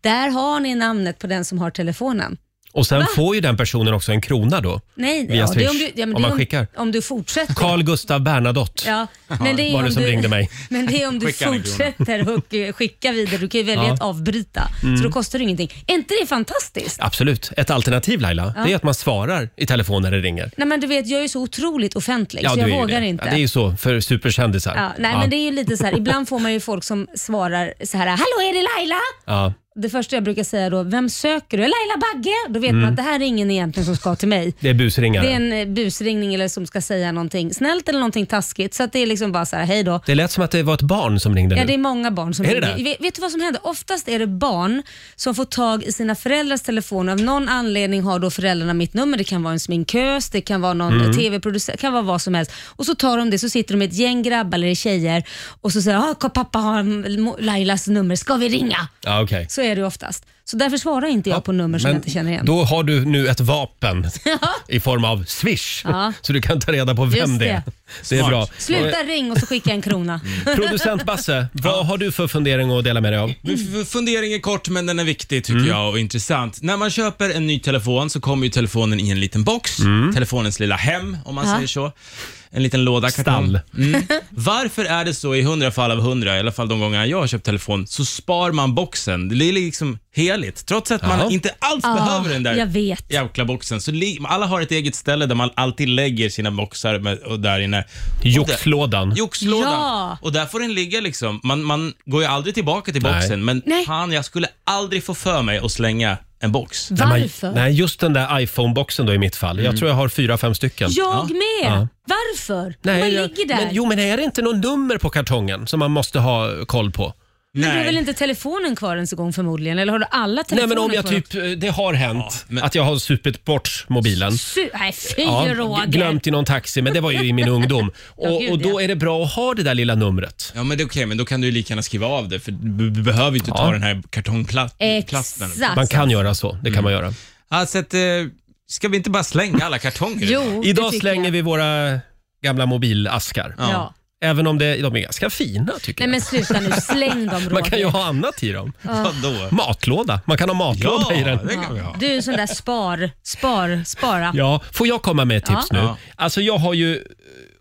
Där har ni namnet på den som har telefonen.
Mm. Och sen får ju den personen också en krona då.
Nej,
Via
det är
Swish,
ja, men
om
det är
man skickar.
Om du fortsätter.
Carl Gustav Bernadotte.
Ja, men det är
var
om
det som
du,
ringde mig.
Men det är om du
Skicka den
fortsätter och eh, skicka vidare. Du kan ju välja
Ja. Mm.
att avbryta, så då kostar det ingenting. Är inte det fantastiskt?
Absolut. Ett alternativ Laila, det är att man svarar i telefon när det ringer.
Nej, men du vet, jag är ju så otroligt offentlig så
du
jag
är ju
vågar
det.
inte.
Ja, det är ju så för superkändisar.
Ja, nej, men det är ju lite så här, ibland får man ju folk som svarar så här, “Hallå, är det Laila?”
Ja.
Det första jag brukar säga då, “Vem söker du?” “Laila Bagge?” Då vet
Mm.
man att det här är ingen egentligen som ska till mig.
Det är busringare.
Det
Det,
är en eh, busringning eller som ska säga någonting snällt eller någonting taskigt. Så att det är liksom bara så här, hej då.
lät som att det var ett barn som ringde
Ja,
nu.
det är många barn som
Är det
ringer.
det?
Vet, vet du vad som händer? Oftast är det barn som får tag i sina föräldrars telefoner. Av någon anledning har då föräldrarna mitt nummer. Det kan vara en sminkös, det kan vara någon
Mm.
TV-producent, det kan vara vad som helst. Och så tar de det, så sitter de med ett gäng grabbar eller tjejer och så säger ah, pappa har mo- Lailas nummer, ska vi ringa?
Ja, okej.
Så är det oftast. Så därför svarar inte jag på nummer som
Men
jag inte känner igen.
Då har du nu ett vapen i form av Swish.
Ja.
Så du kan ta reda på vem
Just
det är.
det.
Det är bra. Eh,
Sluta ring och så skicka en krona.
Producent Basse, vad har du för fundering att dela med dig av?
Mm.
Min f- fundering är kort men den är viktig tycker jag och intressant. När man köper en ny telefon så kommer ju telefonen i en liten box. Telefonens lilla hem om man
Mm. Ja.
säger så. En liten låda. kartong. Mm. Varför är det så i hundra fall av hundra, i alla fall de gånger jag har köpt telefon, så spar man boxen. Det är liksom heligt. Trots att
Jaha.
man inte alls
Ja,
behöver den där
jag vet.
jäkla boxen. Så li- alla har ett eget ställe där man alltid lägger sina boxar med, och där inne. Och där-
Joxlådan.
Joxlådan.
Ja.
Och där får den ligga liksom. Man, man går ju aldrig tillbaka till
Nej.
boxen, men
Nej.
fan, jag skulle aldrig få för mig att slänga en box.
Nej, man-
Varför?
Nej, just den där iPhone-boxen då i mitt fall. Jag tror jag har fyra, fem stycken.
Jag med.
Ja.
Varför?
Nej,
man
jag-
ligger där.
Men, jo, men är det inte något nummer på kartongen som man måste ha koll på?
Men du har väl inte telefonen kvar ens en gång förmodligen? Eller har du alla
Nej,
telefoner
men om jag
kvar?
typ, eh, det har hänt
men-
att jag har supit bort mobilen.
Su- Nej, fy
Ja,
Roger.
g- glömt i någon taxi, men det var ju i min ungdom. Och,
gud,
och då
ja.
är det bra att ha det där lilla numret.
Ja, men det är okej, men då kan du ju lika gärna skriva av det, för du du behöver ju inte ta den här kartongplasten.
Exakt.
Man kan göra så, det kan man göra.
Alltså att, eh, ska vi inte bara slänga alla kartonger?
Jo,
Idag slänger vi våra gamla mobilaskar.
Ja.
Ja.
Även om det, de är ganska fina tycker
Nej men sluta nu, släng dem Roger.
jag. Man kan ju ha annat i dem.
Vadå?
Matlåda. Man kan ha matlåda
Ja,
i den.
det kan vi ha.
Du är en sån där spar, spar, spara.
Ja, får jag komma med ett tips nu?
Ja.
Alltså jag har ju eh,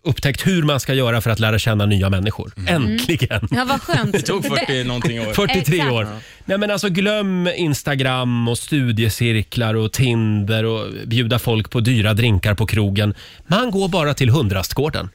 upptäckt hur man ska göra för att lära känna nya människor. Äntligen!
Ja, vad skönt.
Mm. Det tog 40 någonting år.
43
Exakt.
år. Nej men alltså glöm Instagram och studiecirklar och Tinder och bjuda folk på dyra drinkar på krogen. Man går bara till hundrastgården.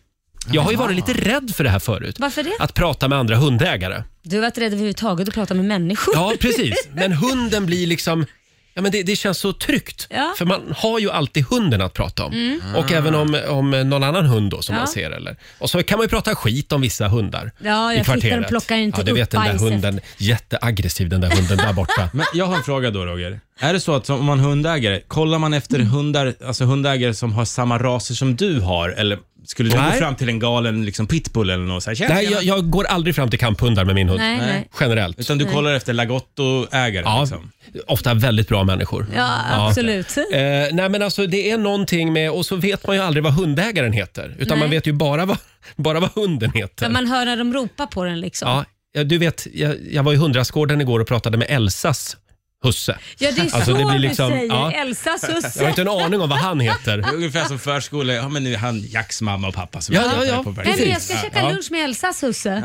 Jag har ju varit lite rädd för det här förut.
Varför det?
Att prata med andra hundägare.
Du har varit rädd överhuvudtaget att prata med människor.
Ja, precis. Men hunden blir liksom... Ja, men det, det känns så tryggt,
Ja. Mm.
för man har ju alltid hunden att prata om. Och även om, om någon annan hund då, som
Ja.
man ser. Eller. Och så kan man ju prata skit om vissa hundar
Ja,
i
jag
kvarteret.
tittar och plockar inte
ja, du
upp
vet den där
bajset.
hunden, jätteaggressiv den där hunden där borta.
Men jag har en fråga då Roger. Är det så att som- om man är hundägare, kollar man efter hundar, alltså hundägare som har samma raser som du har? Eller skulle du
Nej.
gå fram till en galen liksom pitbull eller något så här, "Tjena,
Nej,
tjena."
jag, jag går aldrig fram till kamphundar med min hund.
Nej, nej.
Generellt.
Utan du kollar efter lagottoägare?
Ja,
Liksom.
ofta väldigt bra människor.
Ja, absolut.
Eh, nej men alltså det är någonting med, och så vet man ju aldrig vad hundägaren heter. Utan
Nej.
man vet ju bara vad, bara vad hunden heter.
För man hör när de ropar på den liksom.
Ja, ja, du vet, jag, jag var i Hundrastgården igår och pratade med Elsas husse.
Ja, det är
Alltså,
så
det blir
du
liksom-
säger.
ja.
Elsa
Jag har
Susse.
inte en aning om vad han heter.
Det är Ungefär som förskola, ja men nu är han Jacks mamma och pappa som
Ja,
jag
ja,
träffade
ja.
på
Nej,
precis.
men
verkligen.
jag ska käka lunch med Elsa Susse.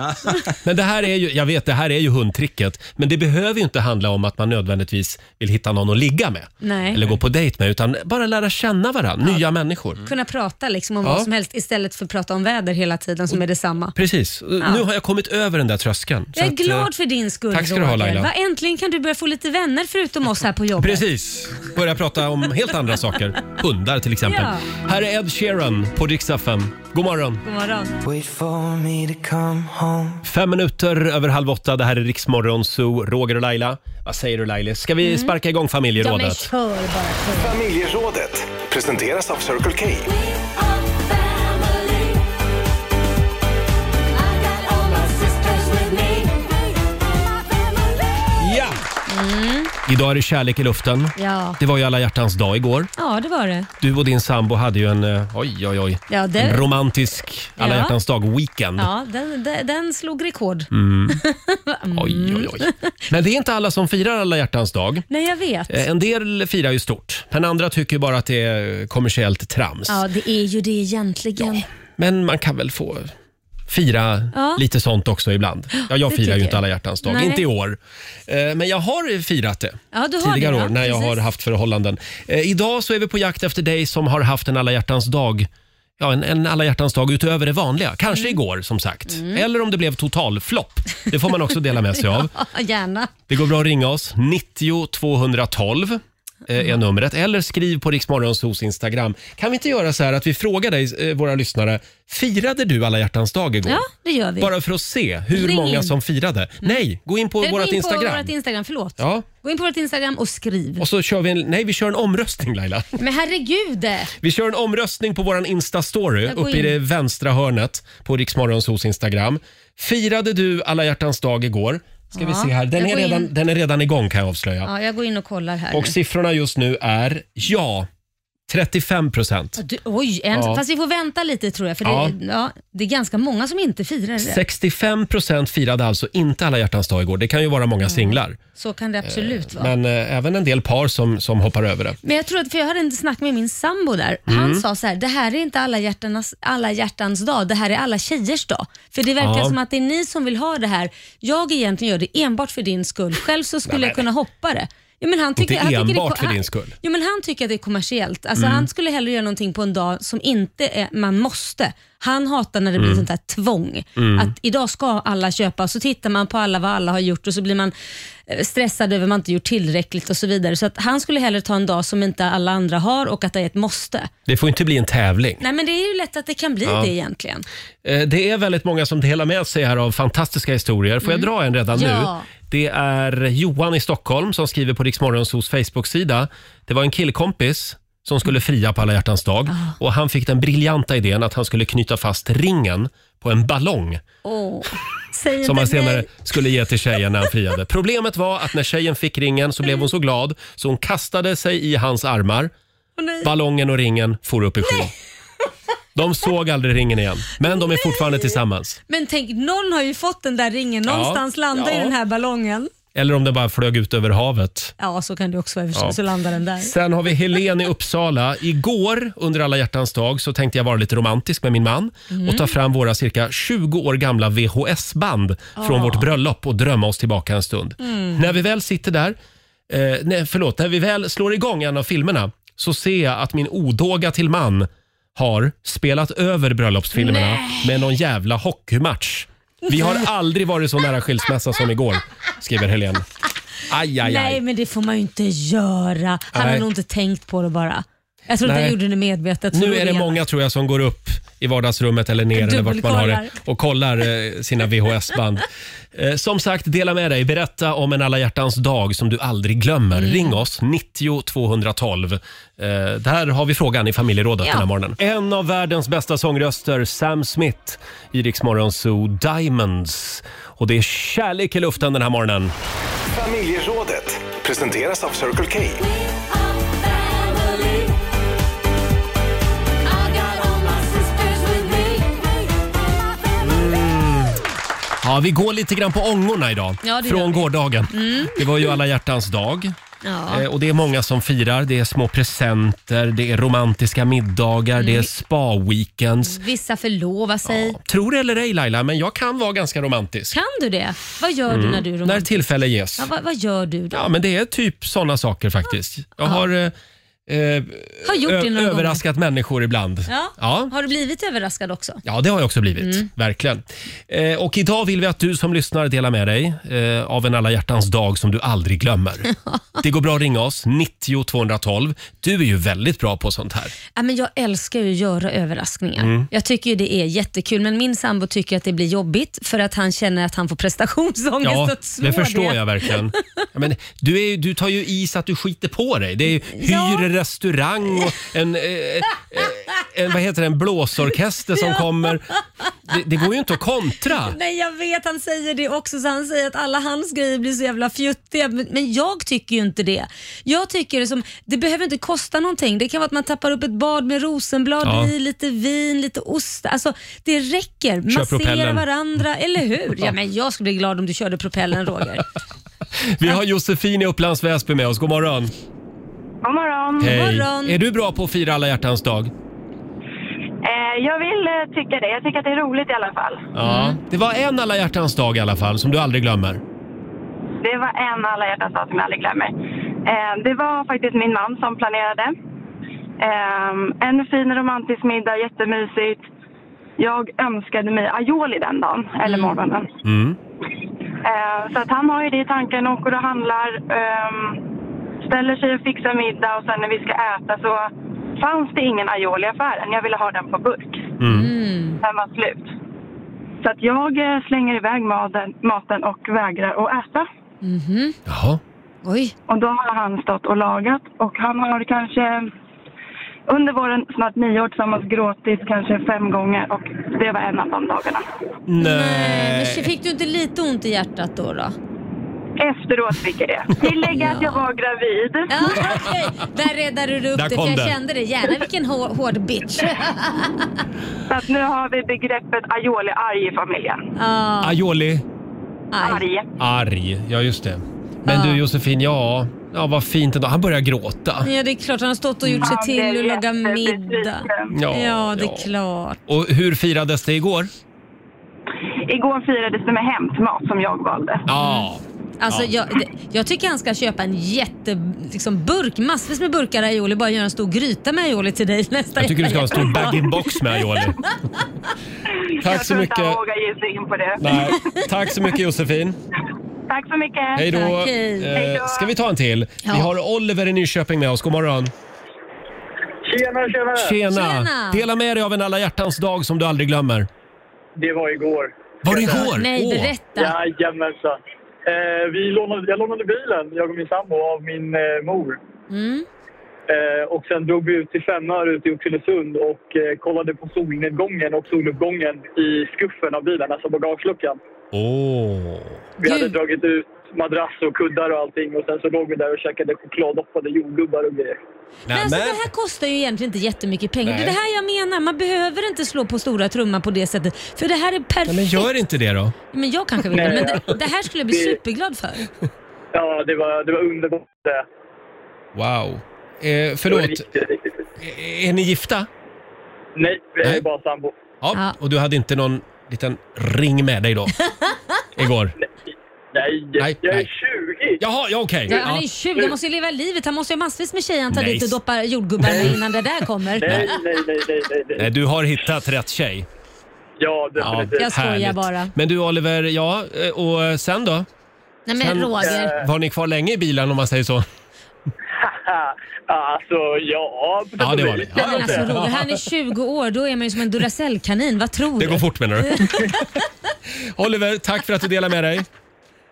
Men det här är ju, jag vet, det här är ju hundtricket. Men det behöver ju inte handla om att man nödvändigtvis vill hitta någon att ligga med.
Nej.
Eller gå på dejt med, utan bara lära känna varandra, nya människor.
Kunna prata liksom om
Mm. Ja.
vad som helst istället för att prata om väder hela tiden som är detsamma.
Precis. Nu har jag kommit över den där tröskeln. Så
Jag är
att, eh,
glad för din skull
Tack ska du ha,
Roger.
Laila.
Va, äntligen kan du börja få lite vänner förutom oss här på jobbet.
Precis, börja prata om helt andra saker. Hundar till exempel.
Ja.
Här är Ed Sheeran på riksdag 5. God morgon.
God morgon.
Wait for me to come home.
Fem minuter över halv åtta. Det här är Riksmorgon Zoo. Roger och Laila. Vad säger du Lailis? Ska
Mm.
vi sparka igång
Ja men
familjerådet?
kör bara.
Familjerådet presenteras av Circle K.
Ja! Idag är det kärlek i luften.
Mm, Ja.
Det var ju alla hjärtans dag igår.
ja, det var det.
Du och din sambo hade ju en, eh, oj, oj, oj,
Ja, det-
en romantisk alla
Ja.
hjärtans dag-weekend.
Ja, den, den, den slog rekord.
Mm.
Mm.
Oj, oj, oj. Men det är inte alla som firar alla hjärtans dag.
Nej, jag vet.
Eh, En del firar ju stort, men andra tycker ju bara att det är kommersiellt trams.
Ja, det är ju det egentligen.
Men man kan väl få fira
Ja.
lite sånt också ibland. Ja, jag
Det
firar ju
tycker
inte
jag.
alla hjärtans dag,
Nej.
inte i år. Eh, Men jag har firat det
Ja, du har
tidigare
det, ja.
år när jag
Precis.
har haft förhållanden. Eh, Idag så är vi på jakt efter dig som har haft en alla hjärtans dag Ja, en, en alla hjärtans dag utöver det vanliga. Kanske
Mm.
igår som sagt. Eller om det blev total flopp. Det får man också dela med sig av.
Ja, gärna.
Det går bra att ringa oss. 90 212 eh,
Mm.
är numret. Eller skriv på Riksmorgonsos Instagram. Kan vi inte göra så här att vi frågar dig, eh, våra lyssnare. Firade du alla hjärtans dag igår?
Ja, det gör vi.
Bara för att se hur
Ring
många
in.
som firade. Nej, gå in på
Eller
vårt
gå in på
Instagram.
vårt Instagram. Förlåt.
Ja.
Gå in på vårt Instagram och skriv.
Och så kör vi en, nej, vi kör en omröstning Laila.
Men herregud!
Vi kör en omröstning på våran Insta-story
Jag går
uppe i
in.
det vänstra hörnet på Riksmorgonsos Instagram. Firade du alla hjärtans dag igår? Ska vi
Ja,
se här. Den
jag
är,
går in.
redan, den är redan igång kan jag avslöja.
Ja, jag går in och kollar här
Och
nu.
siffrorna just nu är ja, 35 procent.
Du, oj, en,
Ja.
fast vi får vänta lite tror jag. För det,
Ja.
ja. det är ganska många som inte firar det.
65 procent firade alltså inte alla hjärtans dag igår. Det kan ju vara många singlar,
Så kan det absolut vara. Men,
men eh, även en del par som, som hoppar över det.
jag tror att, för jag hade en snack med min sambo där.
Mm.
Han sa så här, det här är inte alla, hjärtanas, alla hjärtans dag, det här är alla tjejers dag. För det verkar
Ja.
som att det är ni som vill ha det här. Jag egentligen gör det enbart för din skull. Själv så skulle jag kunna hoppa det. Ja, men han tycker,
Inte
han tycker
enbart
det,
för din skull. Mm.
Jo, men han tycker att det är kommersiellt. Alltså, Han skulle hellre göra någonting på en dag som inte är, man måste. Han hatar när det
Mm.
blir sånt här tvång. Att idag ska alla köpa och så tittar man på alla vad alla har gjort och så blir man eh, stressad över att man inte gjort tillräckligt och så vidare. Så att han skulle hellre ta en dag som inte alla andra har och att det är ett måste.
Det får inte bli en tävling.
Nej men det är ju lätt att det kan bli det egentligen.
Eh, Det är väldigt många som delar med sig här av fantastiska historier. Får jag dra en redan
Mm. Ja.
nu? Det är Johan i Stockholm som skriver på Riksmorgonsos Facebook-sida. Det var en killkompis som skulle fria på alla hjärtans dag
Ah.
och han fick den briljanta idén att han skulle knyta fast ringen på en ballong
Åh, säg inte
som han senare
nej.
skulle ge till tjejen när han friade. Problemet var att när tjejen fick ringen så blev hon så glad så hon kastade sig i hans armar.
Åh, nej.
Ballongen och ringen for upp i skyn. De såg aldrig ringen igen, men de är fortfarande tillsammans.
Men tänk, någon har ju fått den där ringen. Någonstans landar
Ja.
ju den här ballongen.
Eller om den bara flög ut över havet.
Ja, så kan det också vara.
Ja.
Ja. Så landar den där.
Sen har vi Helen i Uppsala. Igår under alla hjärtans dag så tänkte jag vara lite romantisk med min man och ta
Mm.
fram våra cirka 20 år gamla VHS-band
Ah.
från vårt bröllop och drömma oss tillbaka en stund.
mm.
När vi väl sitter där, eh, nej förlåt, när vi väl slår igång en av filmerna så ser jag att min odåga till man har spelat över bröllopsfilmerna med någon jävla hockeymatch. Vi har aldrig varit så nära skilsmässa som igår, skriver Helen. Aj, aj, aj.
Nej, men det får man ju inte göra. Han
Nej.
har nog inte tänkt på det bara. Jag tror inte
Nej.
han gjorde det medvetet.
Nu är det många tror jag som går upp i vardagsrummet eller ner eller vart man har det
Dubbelkollar.
och kollar eh, sina VHS-band. Eh, Som sagt, dela med dig. Berätta om en alla hjärtans dag som du aldrig glömmer.
Mm.
Ring oss, 90 212. Eh, Där har vi frågan i familjerådet
Ja.
den här morgonen. En av världens bästa sångröster, Sam Smith, i Rix Morgon Zoo Diamonds. Och det är kärlek i luften den här morgonen.
Familjerådet presenteras av Circle K.
Ja, vi går lite grann på ångorna idag.
Ja, det gör
från
vi. Mm.
gårdagen. Det var ju alla hjärtans dag.
Ja.
Eh, Och det är många som firar. Det är små presenter, det är romantiska middagar, det
Mm.
är spa-weekends.
Vissa förlovar sig.
Tror det eller ej Laila, men jag kan vara ganska romantisk.
Kan du det? Vad gör
Mm.
du när du är
När
romantisk?
tillfälle ges.
Ja, vad, vad gör du då?
Ja, men det är typ såna saker faktiskt. Jag har eh, eh,
Har gjort det några
överraskat människor ibland.
Ja. Mm.
Ja.
Har du blivit överraskad också?
Ja, det har jag också blivit. Verkligen. Eh, och idag vill vi att du som lyssnar delar med dig eh, av en alla hjärtans dag som du aldrig glömmer. det går bra att ringa oss, 90 212. Du är ju väldigt bra på sånt här.
Ja, men jag älskar ju att göra överraskningar.
Mm.
Jag tycker ju det är jättekul, men min sambo tycker att det blir jobbigt för att han känner att han får prestationsångest
Ja,
att slå
det förstår
det.
jag verkligen. Ja, men du, är, ju- du tar ju i så att du skiter på dig. Det är ju
Ja.
hyr restaurang och en, eh, eh, en, vad heter det, en blåsorkester som kommer. Det, det går ju inte att kontra.
Nej, jag vet. Han säger det också. Så han säger att alla hans grejer blir så jävla fjuttiga. Men, men jag tycker ju inte det. Jag tycker det som, det behöver inte kosta någonting. Det kan vara att man tappar upp ett bad med rosenblad
Ja.
i, lite vin, lite ost. Alltså, det räcker. Massera
propellen.
varandra, eller hur? Ja, men jag skulle bli glad om du körde propellen, Roger.
Vi har Josefin i Upplands Väsby med oss. God morgon.
God morgon.
Hej.
morgon.
Är du bra på att fira alla hjärtans dag?
Eh, jag vill eh, tycka det. Jag tycker att det är roligt i alla fall.
Ja.
Mm.
Det var en alla hjärtans dag i alla fall som du aldrig glömmer.
Det var en alla hjärtans dag som jag aldrig glömmer. Eh, det var faktiskt min man som planerade. Eh, en fin romantisk middag, jättemysigt. Jag önskade mig aioli den dagen, eller morgonen.
Mm.
Eh, så att han har ju det i tanken, åker och handlar, ehm, ställer sig och fixar middag och sen när vi ska äta så fanns det ingen aioli i affären. Jag ville ha den på burk.
mm.
Mm.
Den var slut. Så att jag eh, slänger iväg maten, maten och vägrar att äta.
Jaha.
Mm-hmm. Oj.
Och då har han stått och lagat och han har kanske under våren snart nio år tillsammans gråtit kanske fem gånger och det var en av de dagarna.
Nej,
Nej.
men fick du inte lite ont i hjärtat då? då?
Efteråt fick jag det. Tillägga att jag var gravid.
Ja, okej. Där räddade du upp
Där
det,
kom
för jag
den.
kände det. Gärna vilken hår, hård bitch.
Så att nu har vi begreppet aioli-arg i familjen.
Ja,
Aioli.
aj.
Arg.
Arg. Ja, just det. Men du Josefin, ja. Ja, vad fint ändå. Han börjar gråta.
Ja, det är klart han har stått och gjort sig
blev
till och lagat middag.
jättebesviken.
Ja,
Ja, det
ja.
är klart.
Och hur firades det igår?
Igår firades det med hämtmat som jag valde.
Ja.
Alltså,
Ja.
jag, det- jag tycker han ska köpa en jätte, liksom, burk, massvis med burkar aioli bara göra en stor gryta med aioli till dig nästa
Jag tycker du ska ha en stor bag-in-box med aioli. Tack
jag
så
tror inte
mycket.
han vågar ge sig in på det.
Nej. Tack så mycket Josefin.
Tack så mycket.
Hej då.
Tack, hej.
Eh, ska vi ta en till? Vi har Oliver i Nyköping med oss. God morgon.
Tjena, tjena!
Tjena.
Tjena.
Dela med dig av en alla hjärtans dag som du aldrig glömmer.
Det var igår.
Var det igår?
Nej,
Åh.
berätta.
Jajamensan. Eh, vi lånade, jag lånade bilen, jag och min sambo, av min eh, mor.
Mm.
Eh, och sen drog vi ut till Femmör ute i Oxelösund och eh, kollade på solnedgången och soluppgången i skuffen av bilen, alltså bagageluckan.
Åh.
Vi hade
Gud.
dragit ut madrass och kuddar och allting och sen så låg vi där och käkade chokladdoppade jordgubbar och grejer.
Men alltså,
Nämen.
det här kostar ju egentligen inte jättemycket pengar.
Nej.
Det är det här jag menar. Man behöver inte slå på stora trumman på det sättet. För det här är perfekt.
Nej, men gör inte det då.
Men jag kanske vill det, men det, det här skulle jag bli
Det-
superglad för.
Ja, det var, det var underbart. det.
Wow. Eh,
Det var
förlåt,
riktigt, riktigt. riktigt.
Eh, är ni gifta?
Nej, vi
Nej.
är bara sambo.
Ja.
Ja.
Och du hade inte någon liten ring med dig då? Igår?
Nej,
Nej,
jag är
nej.
20!
Jaha, ja okej.
Ja, han är ju 20, han måste ju leva livet. Han måste ju ha massvis med tjejer han tar
Nej.
dit och doppar jordgubbarna innan det där kommer.
Nej, nej, nej, nej, nej, nej.
Nej, du har hittat rätt tjej.
Ja, definitivt.
Jag skojar
härligt.
bara.
Men du Oliver, ja, eh, och eh, sen då?
Nej men
Sen- eh,
Roger.
Var ni kvar länge i bilen om man säger så?
Ja. Alltså, ja. på sätt
Ja,
och
det var
vis.
det.
Nej, men
Ja,
alltså Roger, han är 20 år, då är man ju som en Duracell-kanin. Vad tror
det
du?
går fort menar du? Oliver, tack för att du delar med dig.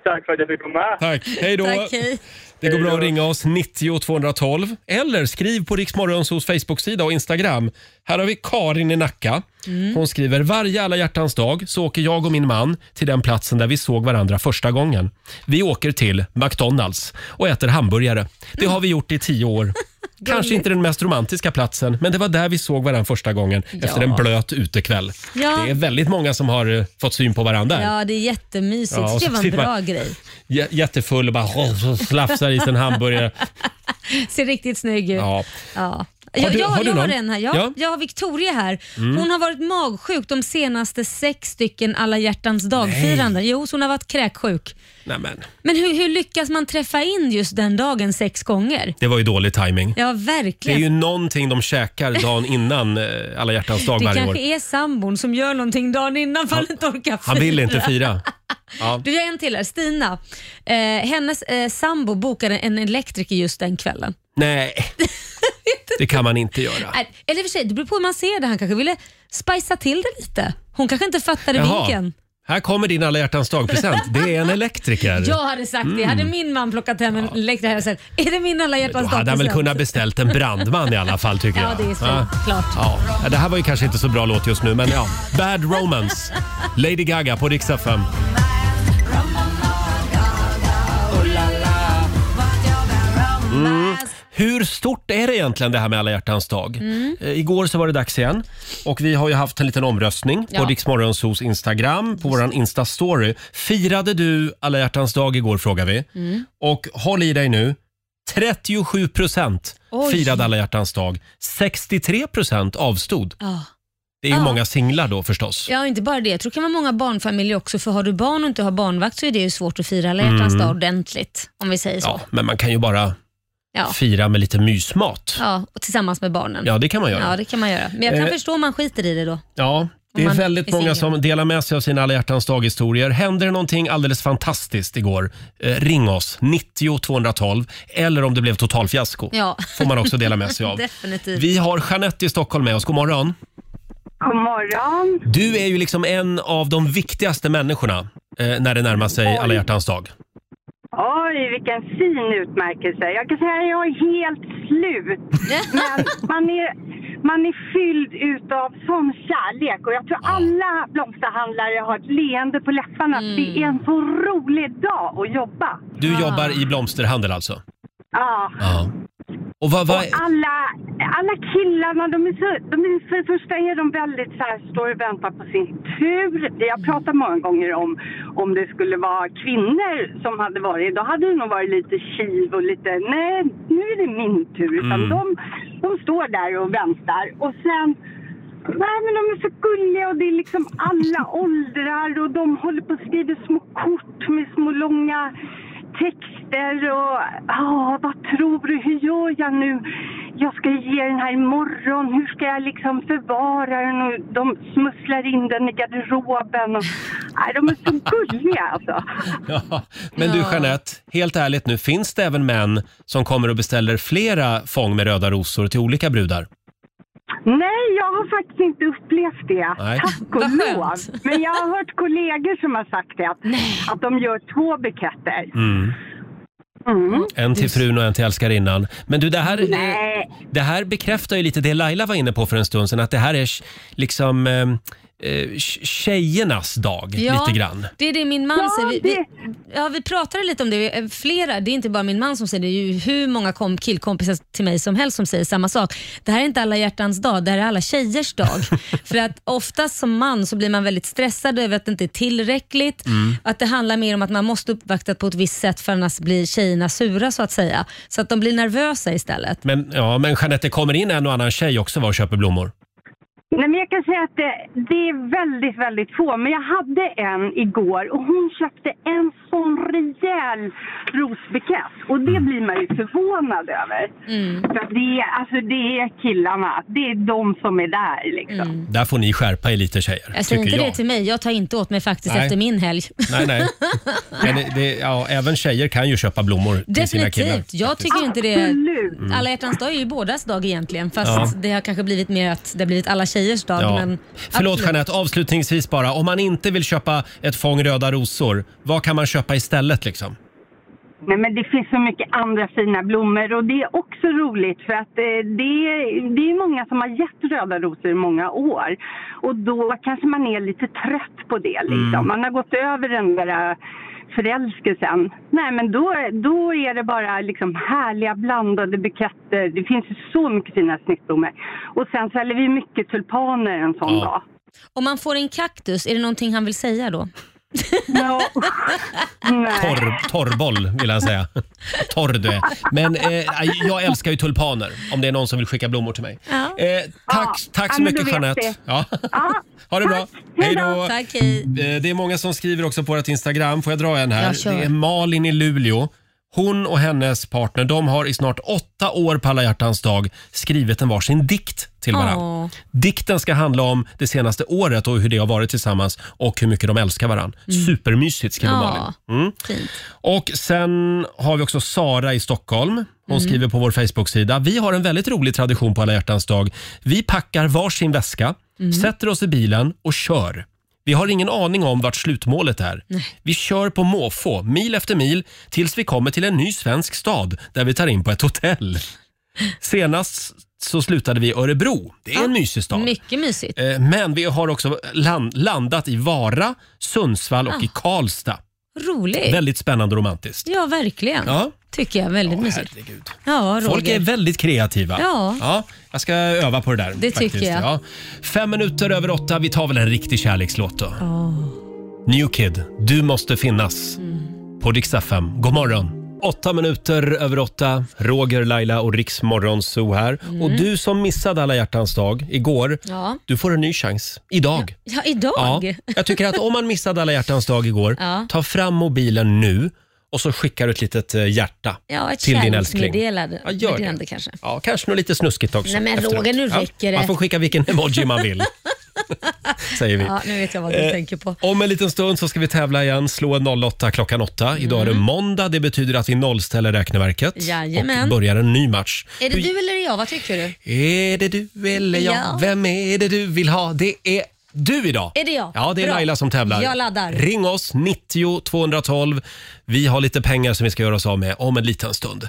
Tack för att jag fick komma.
Tack. Hej då.
Tack, hej.
Det går bra att ringa oss 90 212 eller skriv på Riksmorgonsos Facebook-sida och Instagram. Här har vi Karin i Nacka.
Mm.
Hon skriver varje alla hjärtans dag så åker jag och min man till den platsen där vi såg varandra första gången. Vi åker till McDonalds och äter hamburgare. Det har vi gjort i tio år. Kanske inte den mest romantiska platsen, men det var där vi såg varandra första gången efter en blöt utekväll.
Ja.
Det är väldigt många som har eh, fått syn på varandra.
Ja, det är jättemysigt.
Ja, och
det
så
var en
sitter
bra
man-
grej.
J- jättefull och bara slafsar i sin hamburgare.
Ser riktigt snygg ut. Ja.
Ja. Har
Jag,
du-
jag,
har du
jag har
någon?
en här. Jag,
Ja. Mm.
jag har Victoria här. Hon har varit magsjuk de senaste sex stycken alla hjärtans dagfiranden. Jo, så hon har varit kräksjuk.
Nämen,
Men hur, hur lyckas man träffa in just den dagen sex gånger?
det var ju dålig timing.
Ja,
Det är
verkligen.
ju någonting de käkar dagen innan eh, alla hjärtans dag
Det
varje år.
kanske är sambon som gör någonting dagen innan för han inte orkar
Han vill inte fira. Ja.
Du, jag har en till här. Stina. Eh, hennes eh, sambo bokade en elektriker just den kvällen.
Nej, det kan man inte göra.
Nej, Eller i och för sig, det beror på hur man ser det. Han kanske ville spicea till det lite. Hon kanske inte fattade vinkeln.
här kommer din alla hjärtans dag-present. Det är en elektriker.
Jag hade sagt det. Hade min man plockat hem en elektriker hade jag sagt, är det min alla
Då
hjärtans
hade han väl
dag-present?"
kunnat beställt en brandman i alla fall tycker jag.
Ja, det är så.
Ja.
Klart.
Ja, det här var ju kanske inte så bra låt just nu, men ja. Bad Romance, Lady Gaga på Rix FM. Mm. Hur stort är det egentligen det här med alla hjärtans dag? Eh, Igår så var det dags igen och vi har ju haft en liten omröstning på
Ja.
Rix Morgonzos Instagram, på våran Insta-story. Firade du alla hjärtans dag igår frågar vi.
Mm.
Och håll i dig nu, 37 procent
Oj.
firade alla hjärtans dag. 63 procent avstod.
Ja.
Det är ju
Ja.
många singlar då förstås.
Ja, inte bara det. Jag tror det kan vara många barnfamiljer också. För har du barn och inte har barnvakt så är det ju svårt att fira alla hjärtans dag ordentligt. Om vi säger så.
Mm. Ja,
Ja.
men man kan ju bara
Ja.
fira med lite mysmat.
och tillsammans med barnen.
Ja, det kan man göra.
Ja, det kan man göra. Men jag kan
Eh.
förstå om man skiter i det då.
Ja, det
Om
är
man
väldigt
är
många
singel.
som delar med sig av sina alla hjärtans dag-historier. Händer det någonting alldeles fantastiskt igår, eh, ring oss. 90 212. Eller om det blev totalfiasko.
Ja.
Får man också dela med sig av.
Definitivt.
Vi har Jeanette i Stockholm med oss. God morgon.
God morgon.
Du är ju liksom en av de viktigaste människorna eh, när det närmar sig alla hjärtans dag.
Oj, vilken fin utmärkelse. Jag kan säga att jag är helt slut. Men man är, man är fylld utav sån kärlek och jag tror alla blomsterhandlare har ett leende på läpparna.
Mm.
Det är en så rolig dag att jobba.
Du jobbar i blomsterhandel alltså?
Ja.
Ja. Och vad, vad,
Alla, alla killarna, de är så, de är, för det första är de väldigt så här, står och väntar på sin tur. Jag pratar många gånger om om det skulle vara kvinnor som hade varit, då hade det nog varit lite kiv och lite, nej nu är det min tur. Utan
Mm.
de, de står där och väntar och sen Nej men de är så gulliga och det är liksom alla åldrar och de håller på och skriver små kort med små långa texter och ja, vad tror du, hur gör jag nu? Jag ska ge den här imorgon, hur ska jag liksom förvara den? Och de smusslar in den i garderoben och nej, de är så gulliga alltså.
Ja, men du
Ja.
Jeanette, helt ärligt nu, finns det även män som kommer och beställer flera fång med röda rosor till olika brudar?
Nej, jag har faktiskt inte upplevt det.
Nej.
Tack och
Vad skönt.
lov. Men jag har hört kollegor som har sagt det, att, att de gör två buketter. Mm.
En till frun och en till älskarinnan. Men du, det här, eh,
Nej.
det här bekräftar ju lite det Laila var inne på för en stund sedan, att det här är sh- liksom eh, eh, sh- tjejernas dag lite grann.
Det är det min man
Ja,
säger. Vi, vi,
det-
ja, vi pratade lite om det. Vi är Flera, det är inte bara min man som säger det. Det är ju hur många kom, killkompisar till mig som helst som säger samma sak. Det här är inte alla hjärtans dag, det här är alla tjejers dag. För att oftast som man så blir man väldigt stressad över att det inte är tillräckligt.
Mm.
Att det handlar mer om att man måste uppvakta på ett visst sätt för annars blir tjejerna sura så att säga. Så att de blir nervösa istället.
Men, ja, men Jeanette, det kommer in en och annan tjej också va, och köper blommor?
Nej, men jag kan säga att det, det är väldigt, väldigt få. Men jag hade en igår och hon köpte en sån rejäl rosbukett. Och det blir man ju förvånad över. För att det, är- alltså, det är killarna. Det är de som är där liksom.
Där får ni skärpa er lite tjejer,
Jag säger inte
tycker jag.
det till mig, jag tar inte åt mig faktiskt
Nej.
efter min helg.
Nej, nej. Men det- det, ja, även tjejer kan ju köpa blommor till sina killar.
Definitivt, jag tycker inte det. Mm.
Absolut.
Alla hjärtans dag är ju bådas dag egentligen fast
Ja.
det har kanske blivit mer att det har blivit alla tjejers dag.
Ja.
Men
Förlåt
absolut.
Jeanette, avslutningsvis bara. Om man inte vill köpa ett fång röda rosor, vad kan man köpa istället liksom?
Nej, men det finns så mycket andra fina blommor och det är också roligt för att eh, det, det är många som har gett röda rosor i många år och då kanske man är lite trött på det liksom.
Mm.
Man har gått över den där eh, förälskelsen. Nej, men då, då är det bara liksom härliga blandade buketter. Det finns ju så mycket fina snittblommor. Och sen säljer vi mycket tulpaner en sån
Ja.
dag.
Om man får en kaktus, är det någonting han vill säga då?
No. Nej.
Torr, torrboll vill han säga. Torr du är. Men eh, jag älskar ju tulpaner om det är någon som vill skicka blommor till mig.
Ja.
Eh, tack, tack så
ja, men
mycket
du vet
Jeanette.
det.
Ja.
Ja,
Ha det bra.
tack.
Hej
Hej då.
då.
Tack, hej.
Eh, Det är många som skriver också på vårt Instagram. Får jag dra en här?
Ja, kör.
det är Malin i Luleå. Hon och hennes partner de har i snart åtta år på alla hjärtans dag skrivit en varsin dikt till varandra.
Åh.
Dikten ska handla om det senaste året och hur det har varit tillsammans och hur mycket de älskar varandra. Supermysigt skriver Malin.
Mm.
Mm.
Ja, fint.
Och sen har vi också Sara i Stockholm. Hon
Mm.
skriver på vår Facebook-sida. Vi har en väldigt rolig tradition på alla hjärtans dag. Vi packar varsin väska,
Mm.
sätter oss i bilen och kör. Vi har ingen aning om vart slutmålet är. Vi kör på måfå, mil efter mil, tills vi kommer till en ny svensk stad där vi tar in på ett hotell. Senast så slutade vi i Örebro. Det är en mysig stad.
Mycket mysigt.
Eh, Men vi har också land- landat i Vara, Sundsvall och
Ah.
i Karlstad.
Roligt.
Väldigt spännande och romantiskt.
Ja, verkligen.
Ja.
Tycker jag. Väldigt mysigt.
Herregud.
Ja, Roger.
Folk är väldigt kreativa.
Ja.
jag ska öva på det där.
Det
faktiskt.
tycker jag.
Ja. Fem minuter över åtta. Vi tar väl en riktig kärlekslåt då. New Kid, Du måste finnas
Mm.
på Dix FM. God morgon. Åtta minuter över åtta. Roger, Laila och Riks Morgonzoo här. Och du som missade Alla hjärtans dag igår,
Mm. Ja.
du får en ny chans idag.
Ja, idag.
Ja, jag tycker att om man missade alla hjärtans dag igår,
Ja.
ta fram mobilen nu och så skickar du ett litet eh, hjärta
Ja, ett
till din älskling.
kärleksmeddelande
Ja, gör
meddelande
det.
kanske.
Ja, kanske något lite snuskigt också.
Nej, men
efteråt.
Roger, nu
Ja,
räcker det.
Man får skicka vilken emoji man vill. Säger vi.
Ja, nu vet jag vad du
Eh,
tänker på.
Om en liten stund så ska vi tävla igen. Slå en 08 klockan 8. Idag är det måndag. Det betyder att vi nollställer räkneverket och
Mm. Jajamän.
börjar en ny match.
Är det du eller är det jag? Vad tycker du?
Är det du eller jag?
Ja.
Vem är det du vill ha? Det är du idag.
Är det jag?
Ja, det är
Bra.
Laila som tävlar.
Jag laddar.
Ring oss, 90 212. Vi har lite pengar som vi ska göra oss av med om en liten stund.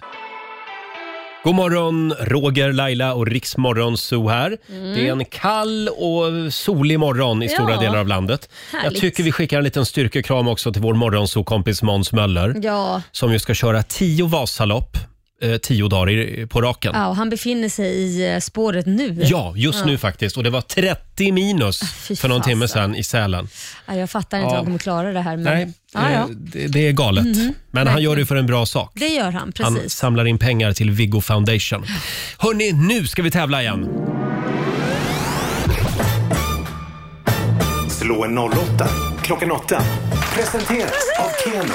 God morgon, Roger, Laila och Riksmorgon Zoo här. Det är en kall och solig morgon i stora
Mm. Ja.
delar av landet. Jag
Härligt.
tycker vi skickar en liten styrkekram också till vår morgonzoo-kompis Måns Möller
Ja.
som ju ska köra 10 Vasalopp, eh, 10 dagar i- på raken.
ja, och han befinner sig i eh, spåret nu.
Ja, just nu faktiskt. Och det var 30 minus
Ah, fy
för någon timme
fasen.
sedan i Sälen.
Ja, jag fattar inte
Ja.
hur han kommer klara det här. Men...
Nej,
Mm. Ja, ja.
eh, Det, det är galet. Men han gör det ju för en bra sak.
Det gör han,
Han
precis.
samlar in pengar till Viggo Foundation. Hörni, nu ska vi tävla igen.
Slå en 08 klockan 8. Presenteras av Keno.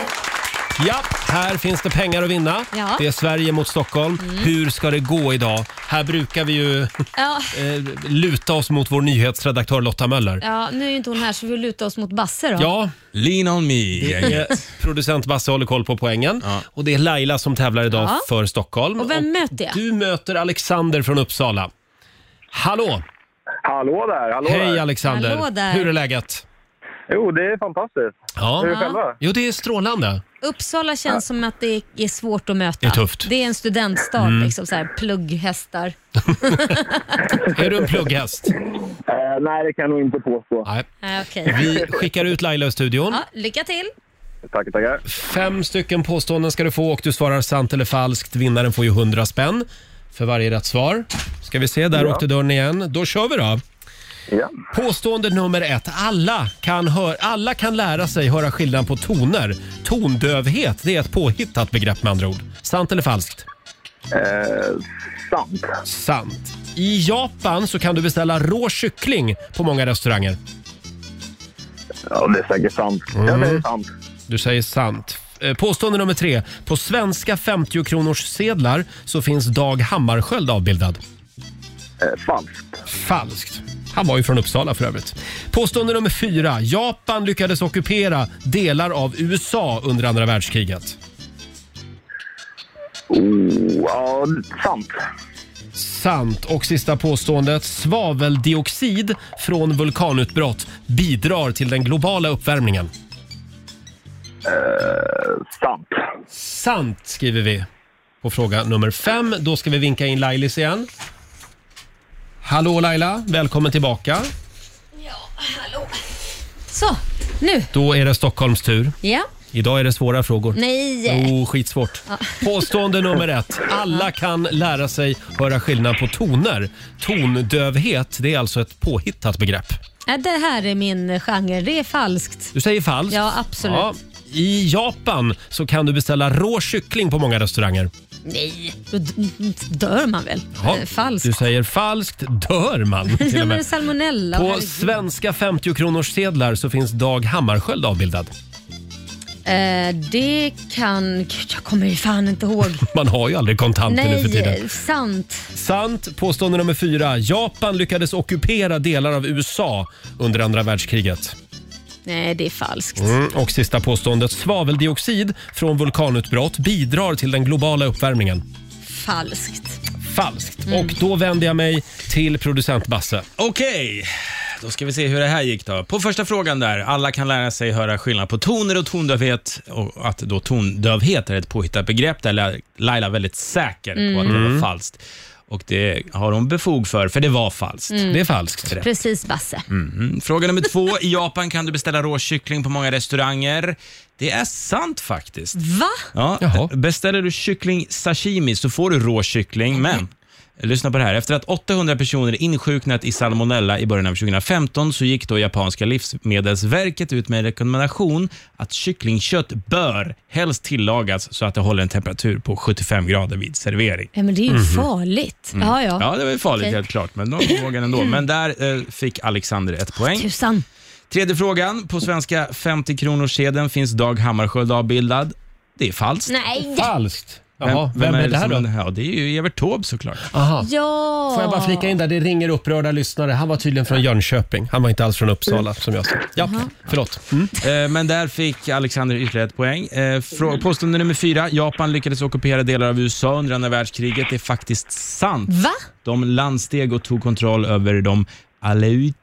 Ja, här finns det pengar att vinna.
Ja. Mm.
Det är Sverige mot Stockholm. Hur ska det gå idag? Här brukar vi ju
Ja,
eh, luta oss mot vår nyhetsredaktör Lotta Möller.
ja, nu är ju inte hon här så vi lutar oss mot Basse då.
Ja,
Lean on me.
det är producent Basse håller koll på poängen. Och det är Laila som tävlar idag
Ja.
för Stockholm.
Och vem möter jag?
Du möter Alexander från Uppsala. Hallå!
Hallå där, hallå
Hej
där.
Alexander!
Hallå där.
Hur är läget?
Jo, det är fantastiskt.
Ja.
Hur är det själva?
Jo, det är strålande.
Uppsala känns som att det är svårt att möta.
Det är tufft. Mm.
Det är en studentstad, liksom så här, plugghästar.
Är du en plugghäst?
Eh, nej, det kan jag nog inte påstå.
Nej.
Äh, okej.
Vi skickar ut Laila i studion.
Ja, lycka till!
Tackar, tackar.
Fem stycken påståenden ska du få och du svarar sant eller falskt. Vinnaren får ju 100 spänn för varje rätt svar. Ska vi se, där åkte dörren igen. Då kör vi då.
Ja.
Påstående nummer ett. Alla kan, hör, alla kan lära sig höra skillnad på toner. Tondövhet, det är ett påhittat begrepp med andra ord. Sant eller falskt?
Eh, sant.
Sant. I Japan så kan du beställa rå kyckling på många restauranger.
Ja, det är säkert sant. Ja, det är
Mhm.
sant.
Mm. Du säger sant. Eh, Påstående nummer tre. På svenska 50 kronors sedlar så finns Dag Hammarskjöld avbildad.
Eh, falskt.
Falskt. Han var ju från Uppsala för övrigt. Påstående nummer fyra. Japan lyckades ockupera delar av USA under andra världskriget.
Oh, ja, sant.
Sant. Och sista påståendet. Svaveldioxid från vulkanutbrott bidrar till den globala uppvärmningen.
Sant.
Sant skriver vi på fråga nummer fem. Då ska vi vinka in Lailis igen. Hallå Laila, välkommen tillbaka.
Så, nu!
Då är det Stockholms tur.
Ja.
Idag är det svåra frågor.
Nej!
Oh, skitsvårt. Påstående nummer ett. Alla kan lära sig höra skillnad på toner. Tondövhet, det är alltså ett påhittat begrepp.
Nej, Det här är min genre. Det är falskt.
Du säger falskt.
Ja, absolut.
I Japan så kan du beställa rå kyckling på många restauranger.
Nej, då d- dör man väl?
Ja,
Eh, Falskt.
Du säger falskt, dör man till
Nej, men
och med.
salmonella.
På
herregud.
svenska 50-kronorssedlar så finns Dag Hammarskjöld avbildad.
Eh, det kan... Gud, jag kommer ju fan inte ihåg.
Man har ju aldrig kontanter nu för tiden.
Nej, eh, sant.
Sant. Påstående nummer fyra. Japan lyckades ockupera delar av USA under andra världskriget.
Nej, det är falskt.
Mm. Och sista påståendet. Svaveldioxid från vulkanutbrott bidrar till den globala uppvärmningen.
Falskt.
Falskt.
Mm.
Och då vänder jag mig till producent Basse.
Okej, då ska vi se hur det här gick då. På första frågan där, alla kan lära sig höra skillnad på toner och tondövhet och att då tondövhet är ett påhittat begrepp där La- Laila är väldigt säker på att det var falskt. Och det har hon befog för, för det var falskt. Mhm.
Det är falskt.
Mm.
Mm.
Precis Basse.
Fråga nummer två. I Japan kan du beställa råkyckling på många restauranger. Det är sant faktiskt.
Va?
Ja,
Jaha.
beställer du kyckling sashimi så får du rå kyckling, men Lyssna på det här. Efter att 800 personer insjuknat i salmonella i början av 2015 så gick då japanska livsmedelsverket ut med en rekommendation att kycklingkött bör helst tillagas så att det håller en temperatur på 75 grader vid servering.
Ja, men det är
Mhm.
ju farligt.
Mm.
Ja, ja.
Mm. Ja, det var ju farligt
Okej. Mm.
helt klart, men de vågade ändå. Men där eh, fick Alexander ett poäng.
Tusan.
Tredje frågan. På svenska 50-kronorssedeln finns Dag Hammarskjöld avbildad. Det är falskt.
Nej.
Falskt. Jaha, vem, är det här
som-
då?
Ja, det är ju Evert Taube såklart.
Aha.
Ja.
Får jag bara flika in där, det ringer upprörda lyssnare. Han var tydligen från Jönköping. Han var inte alls från Uppsala som jag sa. Ja, förlåt. Mm.
Eh, Men där fick Alexander ytterligare ett poäng. Eh, frå- Påstående nummer fyra. Japan lyckades ockupera delar av USA under andra världskriget. Det är faktiskt sant.
Va?
De landsteg och tog kontroll över de aleu-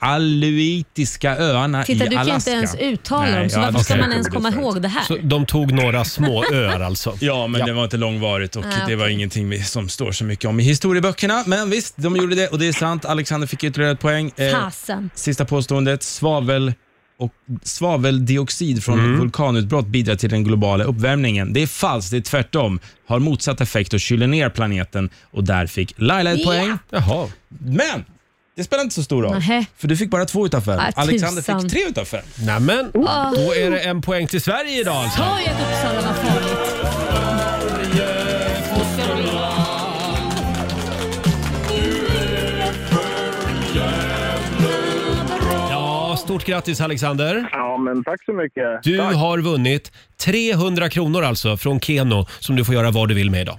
Aleutiska öarna
Titta,
i
du kan ju inte
Alaska.
ens uttala dem,
Nej,
så
ja,
varför
det
ska
är
man ens
roligt
komma
faktiskt.
ihåg det här?
Så de tog några små öar alltså.
Ja, men det var inte långvarigt och
Nej,
det var ingenting vi- som står så mycket om i historieböckerna. Men visst, de gjorde det och det är sant. Alexander fick ytterligare ett poäng. Eh,
Fasen.
sista påståendet, svavel och svaveldioxid från
Mm.
vulkanutbrott bidrar till den globala uppvärmningen. Det är falskt, det är tvärtom. Har motsatt effekt och kyler ner planeten och där fick Laila ett
Ja.
poäng.
Jaha.
Men det spelar inte så stor roll,
Nähä.
för du fick bara två utav fem.
Ah,
Alexander
tusan.
fick tre utav fem.
Nämen, då är det en poäng till Sverige idag alltså.
Ta ju att Uppsala var farligt.
Ja, stort grattis Alexander.
Ja, men tack så mycket.
Du har vunnit 300 kronor alltså från Keno som du får göra vad du vill med idag.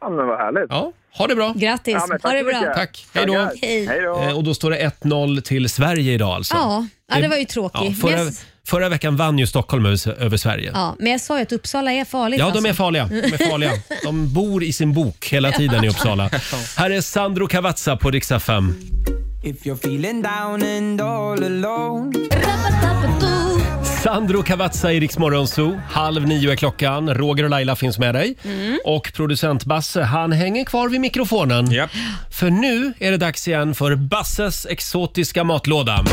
Ja, men vad härligt.
Ja, ha det bra.
Grattis.
Ja, men tack
ha det
så
bra.
mycket.
Tack, hej då.
Tackar.
Hej.
Hej då.
Eh, Och då står det 1-0 till Sverige idag alltså.
Ja, ja, det var ju tråkigt.
Ja,
men,
förra,
jag,
förra veckan vann ju Stockholm över, över Sverige.
ja, men jag sa ju att Uppsala är farligt.
Ja, de
alltså.
är farliga. De, är farliga. de bor i sin bok hela tiden i Uppsala. Här är Sandro Cavazza på riksdag 5.
If you're feeling down and all alone
Sandro Cavazza i Rix Morgon Zoo. Halv nio är klockan. Roger och Laila finns med dig. Och producent Basse, han hänger kvar vid mikrofonen.
Japp.
För nu är det dags igen för Basses exotiska matlåda.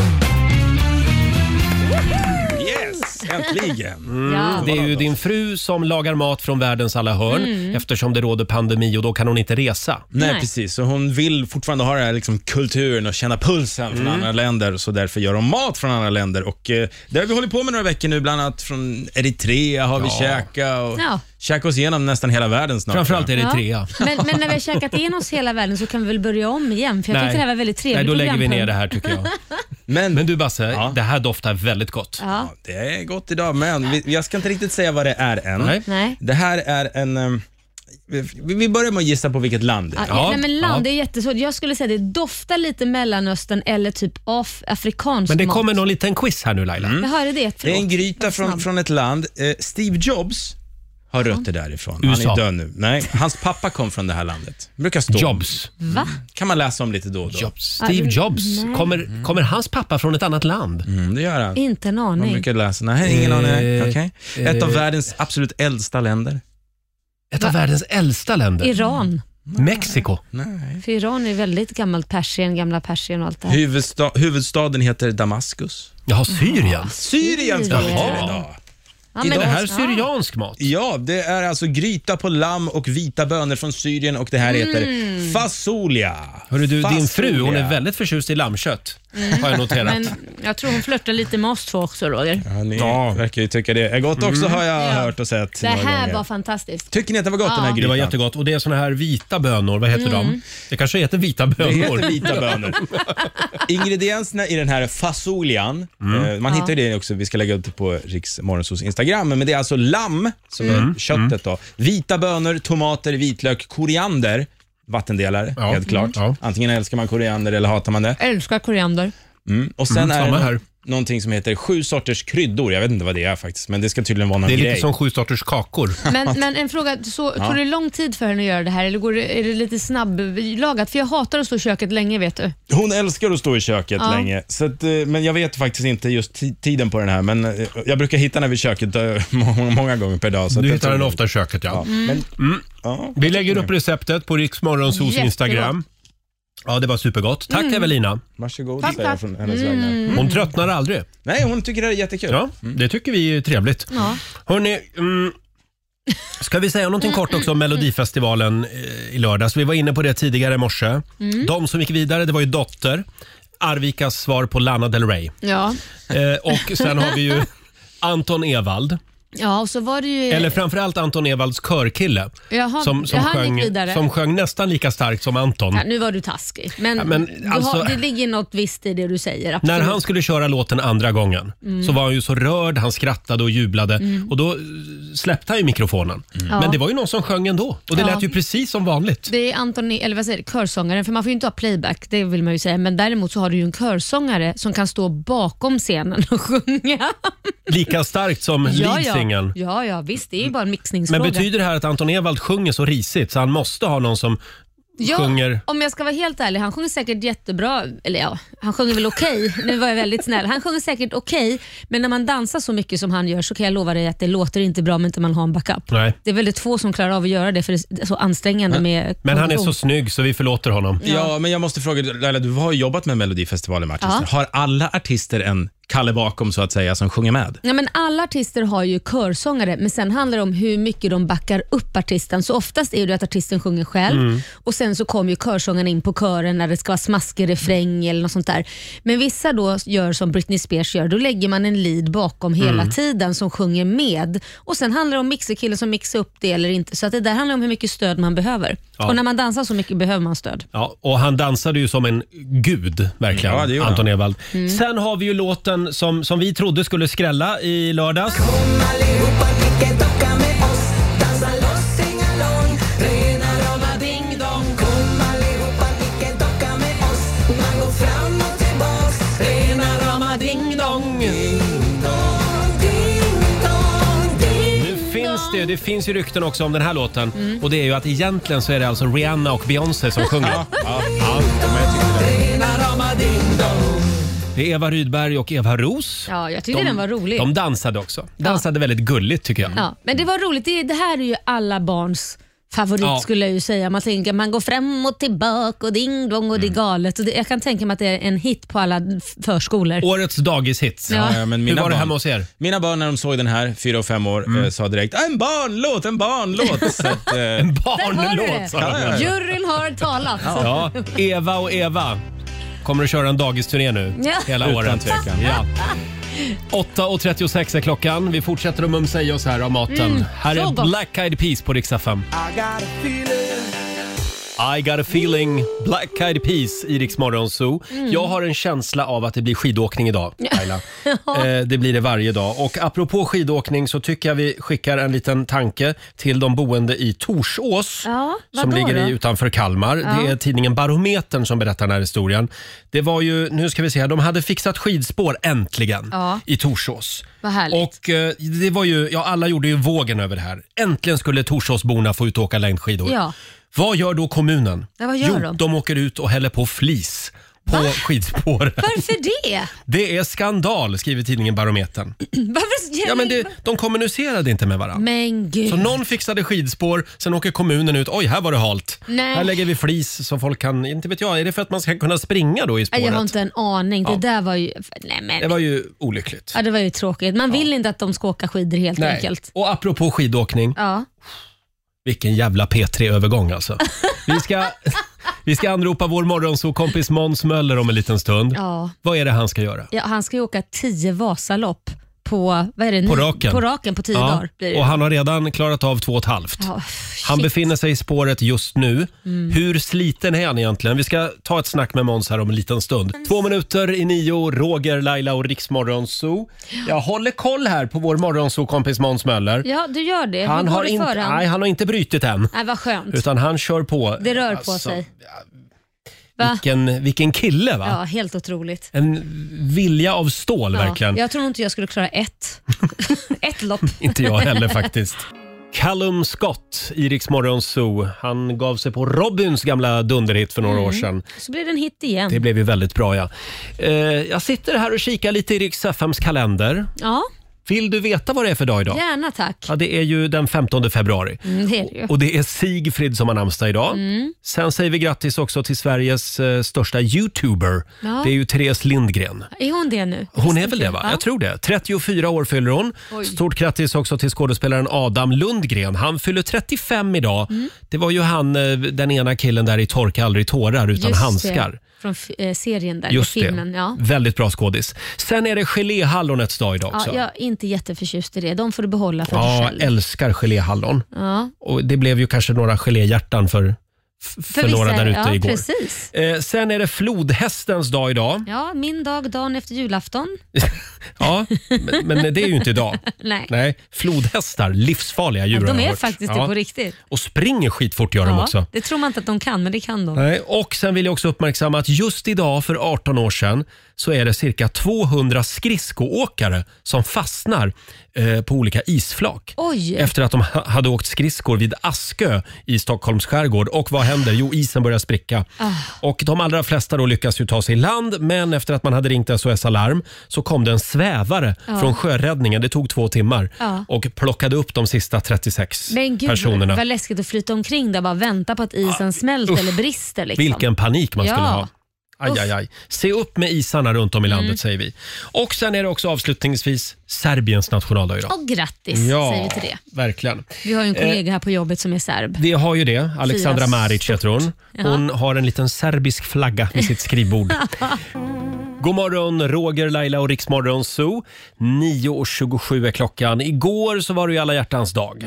Yes, äntligen.
Mm. Ja.
Mm. Det är ju din fru som lagar mat från världens alla hörn eftersom det råder pandemi och då kan hon inte resa.
Nej,
Nej.
precis. Så hon vill fortfarande ha den här liksom, kulturen och känna pulsen
Mm.
från andra länder, så därför gör hon mat från andra länder. Och, eh, det har vi hållit på med några veckor nu, bland annat från Eritrea har vi käkat och
Ja.
käkat oss igenom nästan hela världen snart.
Framförallt
tror
är det
Ja.
trea.
Men, men när vi har käkat in oss hela världen så kan vi väl börja om igen? För jag tyckte det här var väldigt trevligt.
Nej, då lägger vi
programpunkt.
ner det här tycker jag.
jag. Men,
Men du Basse,
Ja.
det här doftar väldigt gott.
Ja.
ja, det är gott idag, men vi, jag ska inte riktigt säga vad det är än.
Nej.
Nej.
Det här är en... eh, vi, vi börjar med att gissa på vilket land det är.
Ja,
Ja,
nej, men land,
ja.
det är jättesvårt. Jag skulle säga det doftar lite Mellanöstern eller typ af- afrikansk
Men det
mat.
kommer någon liten quiz här nu Laila.
Jag hörde det. Förlåt.
Det är en gryta från, från ett land. Eh, Steve Jobs har rötter därifrån. Han
USA.
är död nu. Nej, hans pappa kom från det här landet. Det brukar stå.
Jobs.
Va?
kan man läsa om lite då och då.
Jobs. Steve Jobs. Kommer, kommer hans pappa från ett annat land?
Mm, det gör han.
Inte en
Man
aning.
brukar läsa. Nej, ingen
Eh,
aning. Okej. Ett av
eh.
världens absolut äldsta länder.
Ett av världens äldsta länder.
Iran.
Mexiko.
Nej.
För Iran är väldigt gammalt Persien, gamla Persien och allt det här.
Huvudsta huvudstaden heter Damaskus. Ah,
Jaha, Syrien.
Syrien ska vi till
Jaha.
idag.
Ja,
Är
men-
det här
Ja.
syriansk mat?
Ja, det är alltså gryta på lamm och vita bönor från
Mm.
Syrien och det här heter fasolia.
Hörru du, din fru hon
Fasolia.
är väldigt förtjust i lammkött. har jag noterat.
Mm. Men jag tror hon flörtar lite med oss två också, Roger.
Ja, ni verkar ju tycka det är gott också har jag
Mm. Ja.
hört och sett.
Det
några
här
gånger.
var fantastiskt.
Tycker ni att det var gott den här grytan?
Det var jättegott. Och det är såna här vita bönor, vad heter
Mm.
de? Det kanske heter vita bönor.
Det heter vita bönor. Ingredienserna i den här fasolian,
Mm.
eh, man hittar ju det också, vi ska lägga upp det på Riks Morgonzos Instagram, men det är alltså lamm, som
Mm.
är köttet då. Vita bönor, tomater, vitlök, koriander, vattendelare,
Ja.
helt klart.
Mm. Ja.
Antingen älskar man koriander eller hatar man det.
Älskar koriander.
Mm. Och sen är
samma
det
här.
någonting som heter sju sorters kryddor, jag vet inte vad det är faktiskt, men det ska tydligen vara någon
Det är
grej.
lite som sju sorters kakor.
Men, men en fråga, så,
Ja.
tog det lång tid för henne att göra det här eller går det, är det lite snabblagat? För jag hatar att stå i köket länge vet du.
Hon älskar att stå i köket
Ja.
länge, så att, eh, men jag vet faktiskt inte just ti- tiden på den här. Men eh, jag brukar hitta den vid köket eh, må- många gånger per dag. Så att
Du
jag
hittar
tror-
den ofta i köket ja. Mm.
Ja.
Mm.
Men, mm. ja.
Vi lägger upp receptet på Riksmorgonsos
Jättegott.
Instagram. Ja, det var supergott. Tack Evelina.
Varsågod,
Tack,
säger jag
tack. Mm.
från hennes vägnar.
Hon tröttnar aldrig.
Nej, hon tycker det här är jättekul. Mm.
Ja, det tycker vi är trevligt.
Ja.
Hörrni, mm, ska vi säga någonting kort också
Mm,
om Melodifestivalen eh, i lördags? Vi var inne på det tidigare i morse.
Mm.
De som gick vidare, det var ju Dotter, Arvikas svar på Lana Del Rey.
Ja.
Eh, och sen har vi ju Anton Ewald,
ja, och så var det ju...
eller framförallt Anton Ewalds körkille
Eh. Jaha,
som, som,
ja, han gick
sjöng,
vidare.
som sjöng nästan lika starkt som Anton.
Ja, nu var du taskig, men,
Ja, men
du
alltså-
har, det ligger något visst i det du säger.
När
Absolut.
han skulle köra låten andra gången så var han ju så rörd, han skrattade och jublade och då eh, släppte han ju mikrofonen. Men
Mm. Ja.
det var ju någon som sjöng ändå och det
Ja.
lät ju precis som vanligt.
Det är Antoni, eller vad säger det, körsångaren, för man får ju inte ha playback, det vill man ju säga. Men däremot så har du ju en körsångare som kan stå bakom scenen och sjunga.
Lika starkt som
ja, ja.
leadsingen.
ja, ja, visst. Det är ju bara en
Men
mixningsfråga.
betyder det här att Anton Ewald sjunger så risigt så han måste ha någon som
Ja,
sjunger-
Om jag ska vara helt ärlig, han sjunger säkert jättebra. Eller ja, han sjunger väl okej. Nu var jag väldigt snäll. Han sjunger säkert okej, men när man dansar så mycket som han gör så kan jag lova dig att det låter inte bra om inte man har en backup.
Nej.
Det är väldigt få som klarar av att göra det för det är så ansträngande med
Men han är så
kondition.
snygg så vi förlåter honom.
Ja, men jag måste fråga, Laila, du har ju jobbat med Melodifestivalen med artister. Har alla artister en Kalle bakom, så att säga, som sjunger med?
Ja, men alla artister har ju körsångare, men sen handlar det om hur mycket de backar upp artisten. Så oftast är det att artisten sjunger själv
Mm.
och sen så kommer ju körsångaren in på kören när det ska vara smaskig refräng eller något sånt där. Men vissa då gör som Britney Spears gör, då lägger man en lead bakom
Mm.
hela tiden som sjunger med. Och Sen handlar det om mixerkillen som mixar upp det eller inte. Så att det där handlar om hur mycket stöd man behöver.
Ja.
Och när man dansar så mycket behöver man stöd.
Ja, och han dansade ju som en gud, verkligen,
Ja, det gjorde
Anton Ewald.
Mm.
Sen har vi ju låten som, som vi trodde skulle skrälla i lördags. Nu finns det, det finns ju rykten också om den här låten och det är ju att egentligen så är det alltså Rihanna och Beyoncé som sjunger. Det är Eva Rydberg och Eva Ros.
Ja, jag tyckte den var rolig.
De dansade också. Dansade väldigt gulligt tycker jag.
Ja, men det var roligt. Det, det här är ju alla barns favorit
Ja.
skulle jag ju säga. Man tänker man går fram och tillbaka och ding dong och det är
Mm.
galet. Och det, jag kan tänka mig att det är en hit på alla f- förskolor.
Årets dagishit.
Ja.
Ja, men
Hur
mina
var det
barn-
hemma hos er? Mm.
Mina barn när de såg den här, fyra och fem år, eh, sa direkt en barnlåt, en barnlåt. så att, eh,
En
hör du
barnlåt
det.
sa de.
Juryn har talat.
Ja, Eva och Eva kommer att köra en dagisturné nu
Ja.
hela
Utan
året.
tvekan.
Ja. 8.36 är klockan. Vi fortsätter att mumsa i oss här av maten. här
Mm. så
är
gott.
Black Eyed Peas på riksdag 5. I got a feeling, Black Eyed Peas i Rix Morgon Zoo.
Mm.
Jag har en känsla av att det blir skidåkning idag, Laila. eh, det blir det varje dag. Och apropå skidåkning så tycker jag vi skickar en liten tanke till de boende i Torsås
Ja,
som
vadå
ligger i,
då?
utanför Kalmar. Det är tidningen Barometern som berättar den här historien. Det var ju, nu ska vi se här, de hade fixat skidspår äntligen
Ja.
i Torsås.
Vad härligt.
Och eh, det var ju, ja alla gjorde ju vågen över det här. Äntligen skulle Torsåsborna få ut och åka längdskidor.
Ja.
Vad gör då kommunen?
Ja, vad gör
jo,
de?
de åker ut och häller på flis på skidspåren.
Varför det?
Det är skandal, skriver tidningen Barometern.
Varför
Ja, men det, de kommunicerade inte med varandra.
men gud.
Så någon fixade skidspår, sen åker kommunen ut. Oj, här var det halt.
Nej.
Här lägger vi flis så folk kan... Inte vet jag, är det för att man ska kunna springa då i
Nej,
spåret?
jag har inte en aning. Det där var ju... Nej, men.
Det var ju olyckligt.
Ja, det var ju tråkigt. Man vill inte att de ska åka skidor helt enkelt.
Och apropå skidåkning,
Ja.
vilken jävla P3-övergång alltså. Vi ska... Vi ska anropa vår morgonsåkompis Måns Möller om en liten stund.
Ja.
Vad är det han ska göra?
Ja, han ska ju åka tio Vasalopp på, vad är det,
På
ni-
raken.
på, raken på tio
Ja,
dagar. Blir det.
Och han har redan klarat av två och ett halvt.
Ja,
Han
shit. Mm.
befinner sig i spåret just nu. Hur sliten är han egentligen? Vi ska ta ett snack med Måns här om en liten stund.
Mm.
Två minuter i nio, Roger, Laila och Riksmorgonzoo. Jag håller koll här på vår morgonzoo-kompis Måns Möller.
Ja, du gör det.
Han
Hur går
har,
det
inte,
för han?
nej, han har inte brutit än,
Nej, vad skönt.
utan han kör på.
Det rör på
Alltså,
sig. Va?
Vilken, vilken kille va?
Ja, helt otroligt.
En vilja av stål
Ja.
verkligen.
Jag tror inte jag skulle klara ett. ett lopp.
Inte jag heller faktiskt. Callum Scott, Iriks Morgonzoo. Han gav sig på Robins gamla dunderhit för några år sedan.
Mm. Så blir det en hit igen.
Det blev ju väldigt bra ja. Eh, jag sitter här och kikar lite i Rix FMs kalender.
Ja,
Vill du veta vad det är för dag idag?
gärna tack.
Ja, det är ju den 15 februari.
Mm, det är det ju.
Och det är Sigfrid som har namnsdag idag.
Mm.
Sen säger vi grattis också till Sveriges eh, största youtuber.
Ja.
Det är ju Therese Lindgren.
Är hon det nu?
Hon är väl det va?
Ja.
Jag tror det. 34 år fyller hon. Stort grattis också till skådespelaren Adam Lundgren. Han fyller 35 idag.
Mm.
Det var ju han, eh, den ena killen där i Torka aldrig tårar utan
Just
handskar.
Det. Från f- eh, serien där,
Just
i filmen.
det.
Ja.
Väldigt bra skådis. Sen är det geléhallonets dag idag också.
Ja, jag är inte jätteförtjust i det. De får du behålla för dig
Ja,
själv.
älskar geléhallon.
Ja.
Och det blev ju kanske några geléhjärtan för, f- för,
vissa
några
är
där
det-
ute
ja,
igår.
Precis.
Eh, sen är det flodhästens dag idag.
Ja, min dag, dagen efter julafton.
Ja, men, men det är ju inte idag.
Nej.
Nej, flodhästar, livsfarliga djur har
de
jag
är
hört.
faktiskt det
Ja.
på riktigt.
Och springer skitfort gör de
Ja,
också.
Det tror man inte att de kan, men det kan de.
Nej, och sen vill jag också uppmärksamma att just idag för 18 år sedan så är det cirka 200 skridskoåkare som fastnar eh, på olika isflak.
Oj.
Efter att de ha- hade åkt skridskor vid Askö i Stockholms skärgård. Och vad händer? Jo, isen börjar spricka.
Ah.
Och de allra flesta då lyckas ju ta sig i land, men efter att man hade ringt SOS Alarm så kom det en svävare
Ah.
från sjöräddningen. Det tog två timmar
Ja.
och plockade upp de sista 36
Ah. Men gud
personerna.
vad läskigt att flyta omkring där bara vänta på att isen smälter
usch.
eller brister. Liksom.
Vilken panik man skulle
Ja.
ha. Aj,
Uff. Mm.
aj, aj. Se upp med isarna runt om i landet säger vi. Och sen är det också avslutningsvis Serbiens nationaldag idag.
Och grattis säger vi till det.
verkligen.
Vi har ju en
Eh.
kollega här på jobbet som är serb.
Vi har ju det. Alexandra
Firas
Maric heter hon. Hon har en liten serbisk flagga vid sitt skrivbord. God morgon, Roger, Laila och Riksmorgon Zoo. 9.27 är klockan. Igår så var det ju alla hjärtans dag.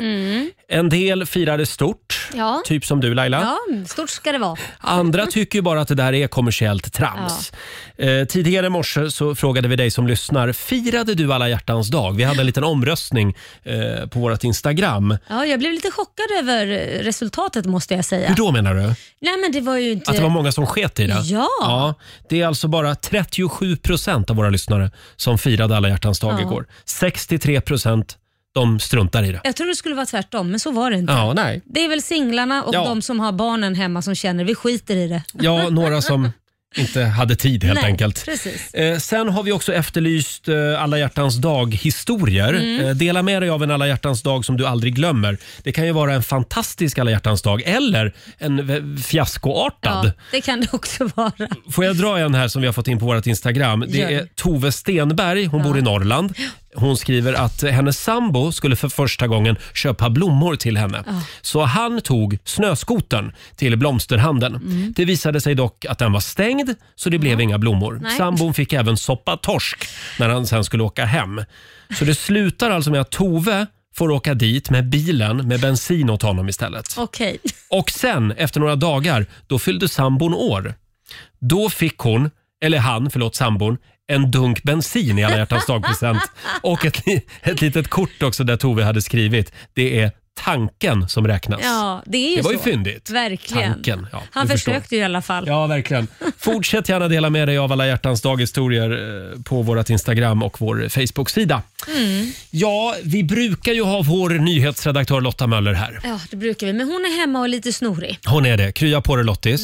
En del firade stort,
Mm. Ja.
typ som du Laila.
Ja, stort ska det vara.
Andra tycker ju bara att det där är kommersiellt trams. Eh, tidigare i morse så frågade vi dig som lyssnar, firade du alla hjärtans dag? Vi hade en liten omröstning eh, på vårt Instagram.
Ja, jag blev lite chockad över eh, resultatet måste jag säga.
Hur då menar du?
Nej men det var ju inte...
Att det var många som sket i det?
Ja.
det är alltså bara 37 procent av våra lyssnare som firade alla hjärtans dag
Ja.
igår. 63 procent de struntar i det.
Jag trodde det skulle vara tvärtom, men så var det inte.
Ja, nej.
Det är väl singlarna och
Ja.
de som har barnen hemma som känner vi skiter i det.
Ja, några som inte hade tid helt
Nej,
enkelt.
Precis.
Eh, sen har vi också efterlyst eh, alla hjärtans dag-historier.
Mm.
Eh, dela med dig av en alla hjärtans dag som du aldrig glömmer. Det kan ju vara en fantastisk alla hjärtans dag eller en v- fiaskoartad.
Ja, det kan det också vara.
Får jag dra en här som vi har fått in på vårt Instagram? Det
Gör det.
är Tove Stenberg, hon bor i Norrland. Hon skriver att hennes sambo skulle för första gången köpa blommor till henne. Så han tog snöskoten till blomsterhandeln. Det visade sig dock att den var stängd, så det blev inga blommor.
Nej.
Sambon fick även soppa torsk när han sen skulle åka hem. Så det slutar alltså med att Tove får åka dit med bilen med bensin åt honom istället.
Okej.
Och sen, efter några dagar, då fyllde sambon år. Då fick hon, eller han, förlåt sambon, en dunk bensin i alla hjärtans dagpresent. Och ett, li- ett litet kort också där Tove hade skrivit. Det är tanken som räknas.
Ja, det är ju
det var ju
så.
fyndigt.
Verkligen.
Tanken, ja,
Han
du förstår.
försökte ju i alla fall.
Ja, verkligen. Fortsätt gärna dela med dig av alla hjärtans daghistorier eh, på vårt Instagram och vår Facebook-sida.
Mm.
Ja, vi brukar ju ha vår nyhetsredaktör Lotta Möller här.
Ja, det brukar vi. Men hon är hemma och är lite snorig.
Hon är det. Krya på dig Lottis.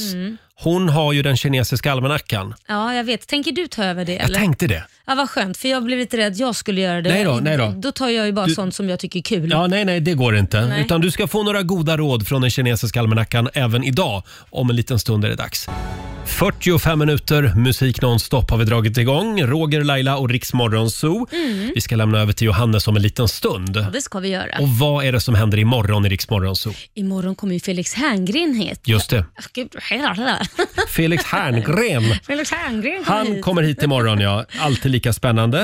Hon har ju den kinesiska almanackan.
Ja, jag vet. Tänker du ta över det?
Jag
Eller?
tänkte det.
Ja, vad skönt, för jag blev lite rädd. Jag skulle göra det.
Nej då, nej då.
tar jag ju bara sånt som jag tycker är kul.
Ja, nej, nej, det går inte.
Nej.
Utan du ska få några goda råd från den kinesiska almanackan även idag. Om en liten stund är det dags. 45 minuter musik nonstop har vi dragit igång. Roger, Laila och Riksmorgon Zoo.
Mm.
Vi ska lämna över till Johannes om en liten stund.
Det ska vi göra.
Och vad är det som händer imorgon i Riksmorgon Zoo?
Imorgon kommer ju Felix Herngren hit.
Just det,
Ah, Gud, hela.
Felix Herngren.
Felix Herngren kommer
Han
hit.
kommer hit imorgon ja. Alltid lika spännande.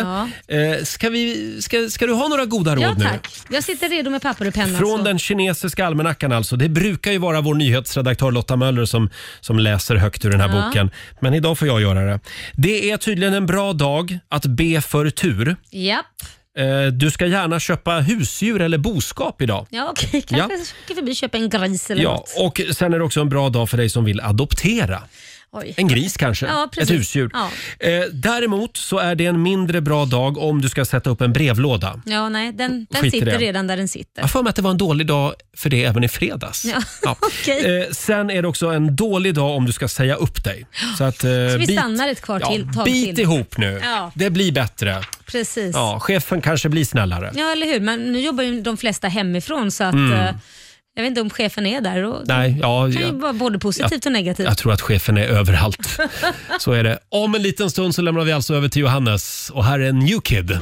Ja.
Eh, Ska, vi, ska, ska du ha några goda råd
Ja
nu?
tack. Jag sitter redo med papper och penna.
Från
så-
den kinesiska almanackan alltså. Det brukar ju vara vår nyhetsredaktör Lotta Möller som, som läser högt ur den här
Ja.
boken. Men idag får jag göra det. Det är tydligen en bra dag att be för tur.
Japp.
Eh, Du ska gärna köpa husdjur eller boskap idag.
Ja, okej. Kanske åker förbi och köper en gris eller
Ja,
något.
och sen är det också en bra dag för dig som vill adoptera.
Oj.
En gris kanske?
Ja, precis.
Ett husdjur.
Ja.
Eh, däremot så är det en mindre bra dag om du ska sätta upp en brevlåda.
Ja, nej, den,
Skit i
den sitter
det.
redan där den
Jag har
sitter.
för mig att det var en dålig dag för det även i fredags.
Ja, okej.
eh, sen är det också en dålig dag om du ska säga upp dig. Så, att, eh,
vi stannar ett kvar till-
Ja,
tag
bit
till.
ihop nu.
Ja.
Det blir bättre.
Precis. Ja.
Ja, chefen kanske blir snällare.
eller hur. Men nu jobbar ju de flesta hemifrån så att eh, jag vet inte om chefen är där. Och,
Nej, Mm. ja,
det kan ju
jag,
vara både positivt och negativt.
jag tror att chefen är överallt. Så är det. Om en liten stund så lämnar vi alltså över till Johannes och här är New Kid.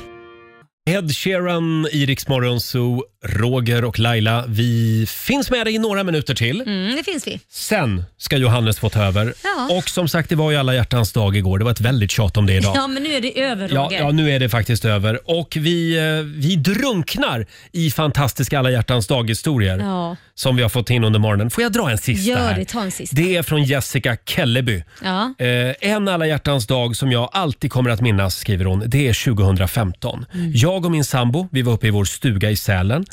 Ed Sheeran, Iriks Morgonzoo, Roger och Laila. Vi finns med dig i några minuter till.
Mm, det finns vi.
Sen ska Johannes få ta över.
Ja.
Och som sagt, det var ju alla hjärtans dag igår. Det var ett väldigt tjat om det idag.
Ja. men nu är det över
Ja,
Roger.
ja, nu är det faktiskt över. Och vi, eh, vi drunknar i fantastiska alla hjärtans dag-historier
Ja.
som vi har fått in under morgonen. Får jag dra en sista
Gör
här?
det, ta en sista.
Det är från Jessica Kelleby.
Ja.
Eh, en alla hjärtans dag som jag alltid kommer att minnas, skriver hon, det är 2015.
Mm.
Jag och min sambo, vi var uppe i vår stuga i Sälen.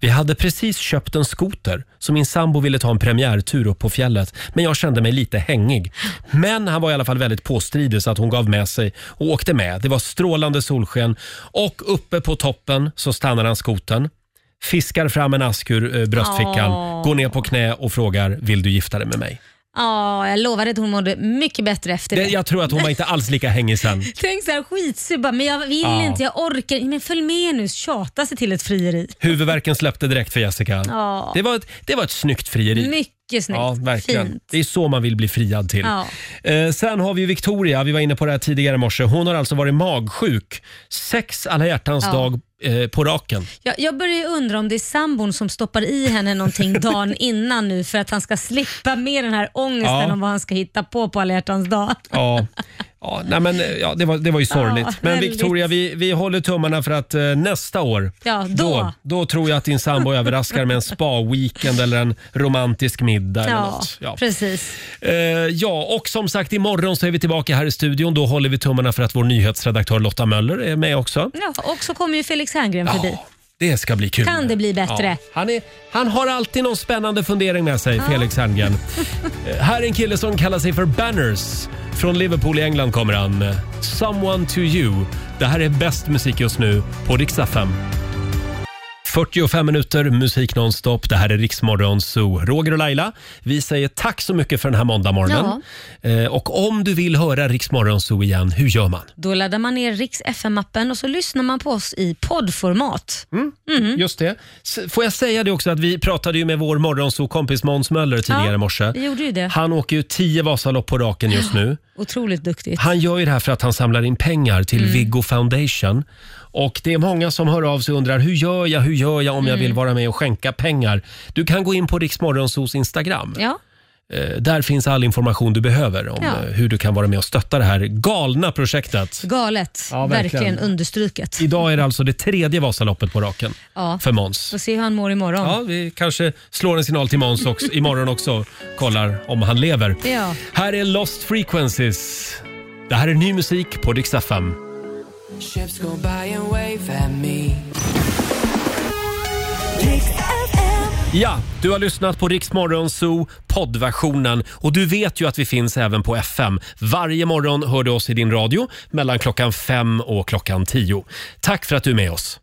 Vi hade precis köpt en skoter, så min sambo ville ta en premiärtur upp på fjället. Men jag kände mig lite hängig. Men han var i alla fall väldigt påstridig så att hon gav med sig och åkte med. Det var strålande solsken och uppe på toppen så stannar han skoten. Fiskar fram en ask ur eh, bröstfickan,
Åh.
går ner på knä och frågar “Vill du gifta dig med mig?”
Ja, jag lovade att hon mådde mycket bättre efter det.
det, Jag tror att hon var inte alls lika hängig sen.
Tänk såhär skitsur bara, men jag vill
Ja.
inte, jag orkar inte. Men följ med nu, tjata sig till ett frieri.
Huvudvärken släppte direkt för Jessica.
Ja.
Det, var ett, det var ett snyggt frieri.
Mycket snyggt.
Ja, verkligen.
Fint.
Det är så man vill bli friad till.
Ja.
Eh, sen har vi ju Victoria, vi var inne på det här tidigare i morse. Hon har alltså varit magsjuk sex alla hjärtans
Ja.
dag eh, på raken.
Jag, jag börjar ju undra om det är sambon som stoppar i henne någonting dagen innan nu för att han ska slippa med den här ångesten
Ja.
om vad han ska hitta på på alla hjärtans dag.
Ja. Ja, nej men, eh, ja, det, var, det var ju sorgligt.
Ja,
men
väldigt.
Victoria, vi, vi håller tummarna för att eh, nästa år,
Ja, då.
Då, då tror jag att din sambo överraskar med en spa-weekend eller en romantisk middag. Eller
Ja,
något. Ja.
precis.
Eh, ja, och som sagt imorgon så är vi tillbaka här i studion. Då håller vi tummarna för att vår nyhetsredaktör Lotta Möller är med också.
Ja, och så kommer ju Felix Herngren förbi.
Ja, det ska bli kul.
Kan det bli bättre?
Ja. Han, är, han har alltid någon spännande fundering med sig, Felix Herngren. Eh, här är en kille som kallar sig för Banners. Från Liverpool i England kommer han. Someone to you. Det här är bäst musik just nu på Riksdag 5. 45 minuter musik nonstop. Det här är Riksmorgon Zoo. Roger och Laila, vi säger tack så mycket för den här måndagmorgonen. Eh, och om du vill höra Riksmorgon Zoo igen, hur gör man?
Då laddar man ner Riks FM-appen och så lyssnar man på oss i poddformat.
Mm.
Mm-hmm.
Just det. S- Får jag säga det också att vi pratade ju med vår morgonsokompis Måns Möller tidigare
Ja,
i morse.
Vi gjorde ju det.
Han åker ju tio Vasalopp på raken just nu.
Otroligt duktigt.
Han gör ju det här för att han samlar in pengar till
Mm.
Viggo Foundation. Och det är många som hör av sig och undrar hur gör jag, hur gör jag om jag
Mm.
vill vara med och skänka pengar? Du kan gå in på Riksmorgonsos Instagram.
Ja,
Eh, Där finns all information du behöver om
Ja.
eh, hur du kan vara med och stötta det här galna projektet.
galet.
Ja, verkligen.
verkligen. understruket.
Idag är det alltså det tredje Vasaloppet på raken
Ja.
för Måns.
Får se hur han mår imorgon.
Ja, vi kanske slår en signal till Måns också, imorgon också. Kollar om han lever.
Ja.
Här är Lost Frequencies. Det här är ny musik på Dix FM.
Ships go by and wave at me.
Ja, du har lyssnat på Rix Morgon Zoo poddversionen och du vet ju att vi finns även på FM. Varje morgon hör du oss i din radio mellan klockan fem och klockan tio. Tack för att du är med oss.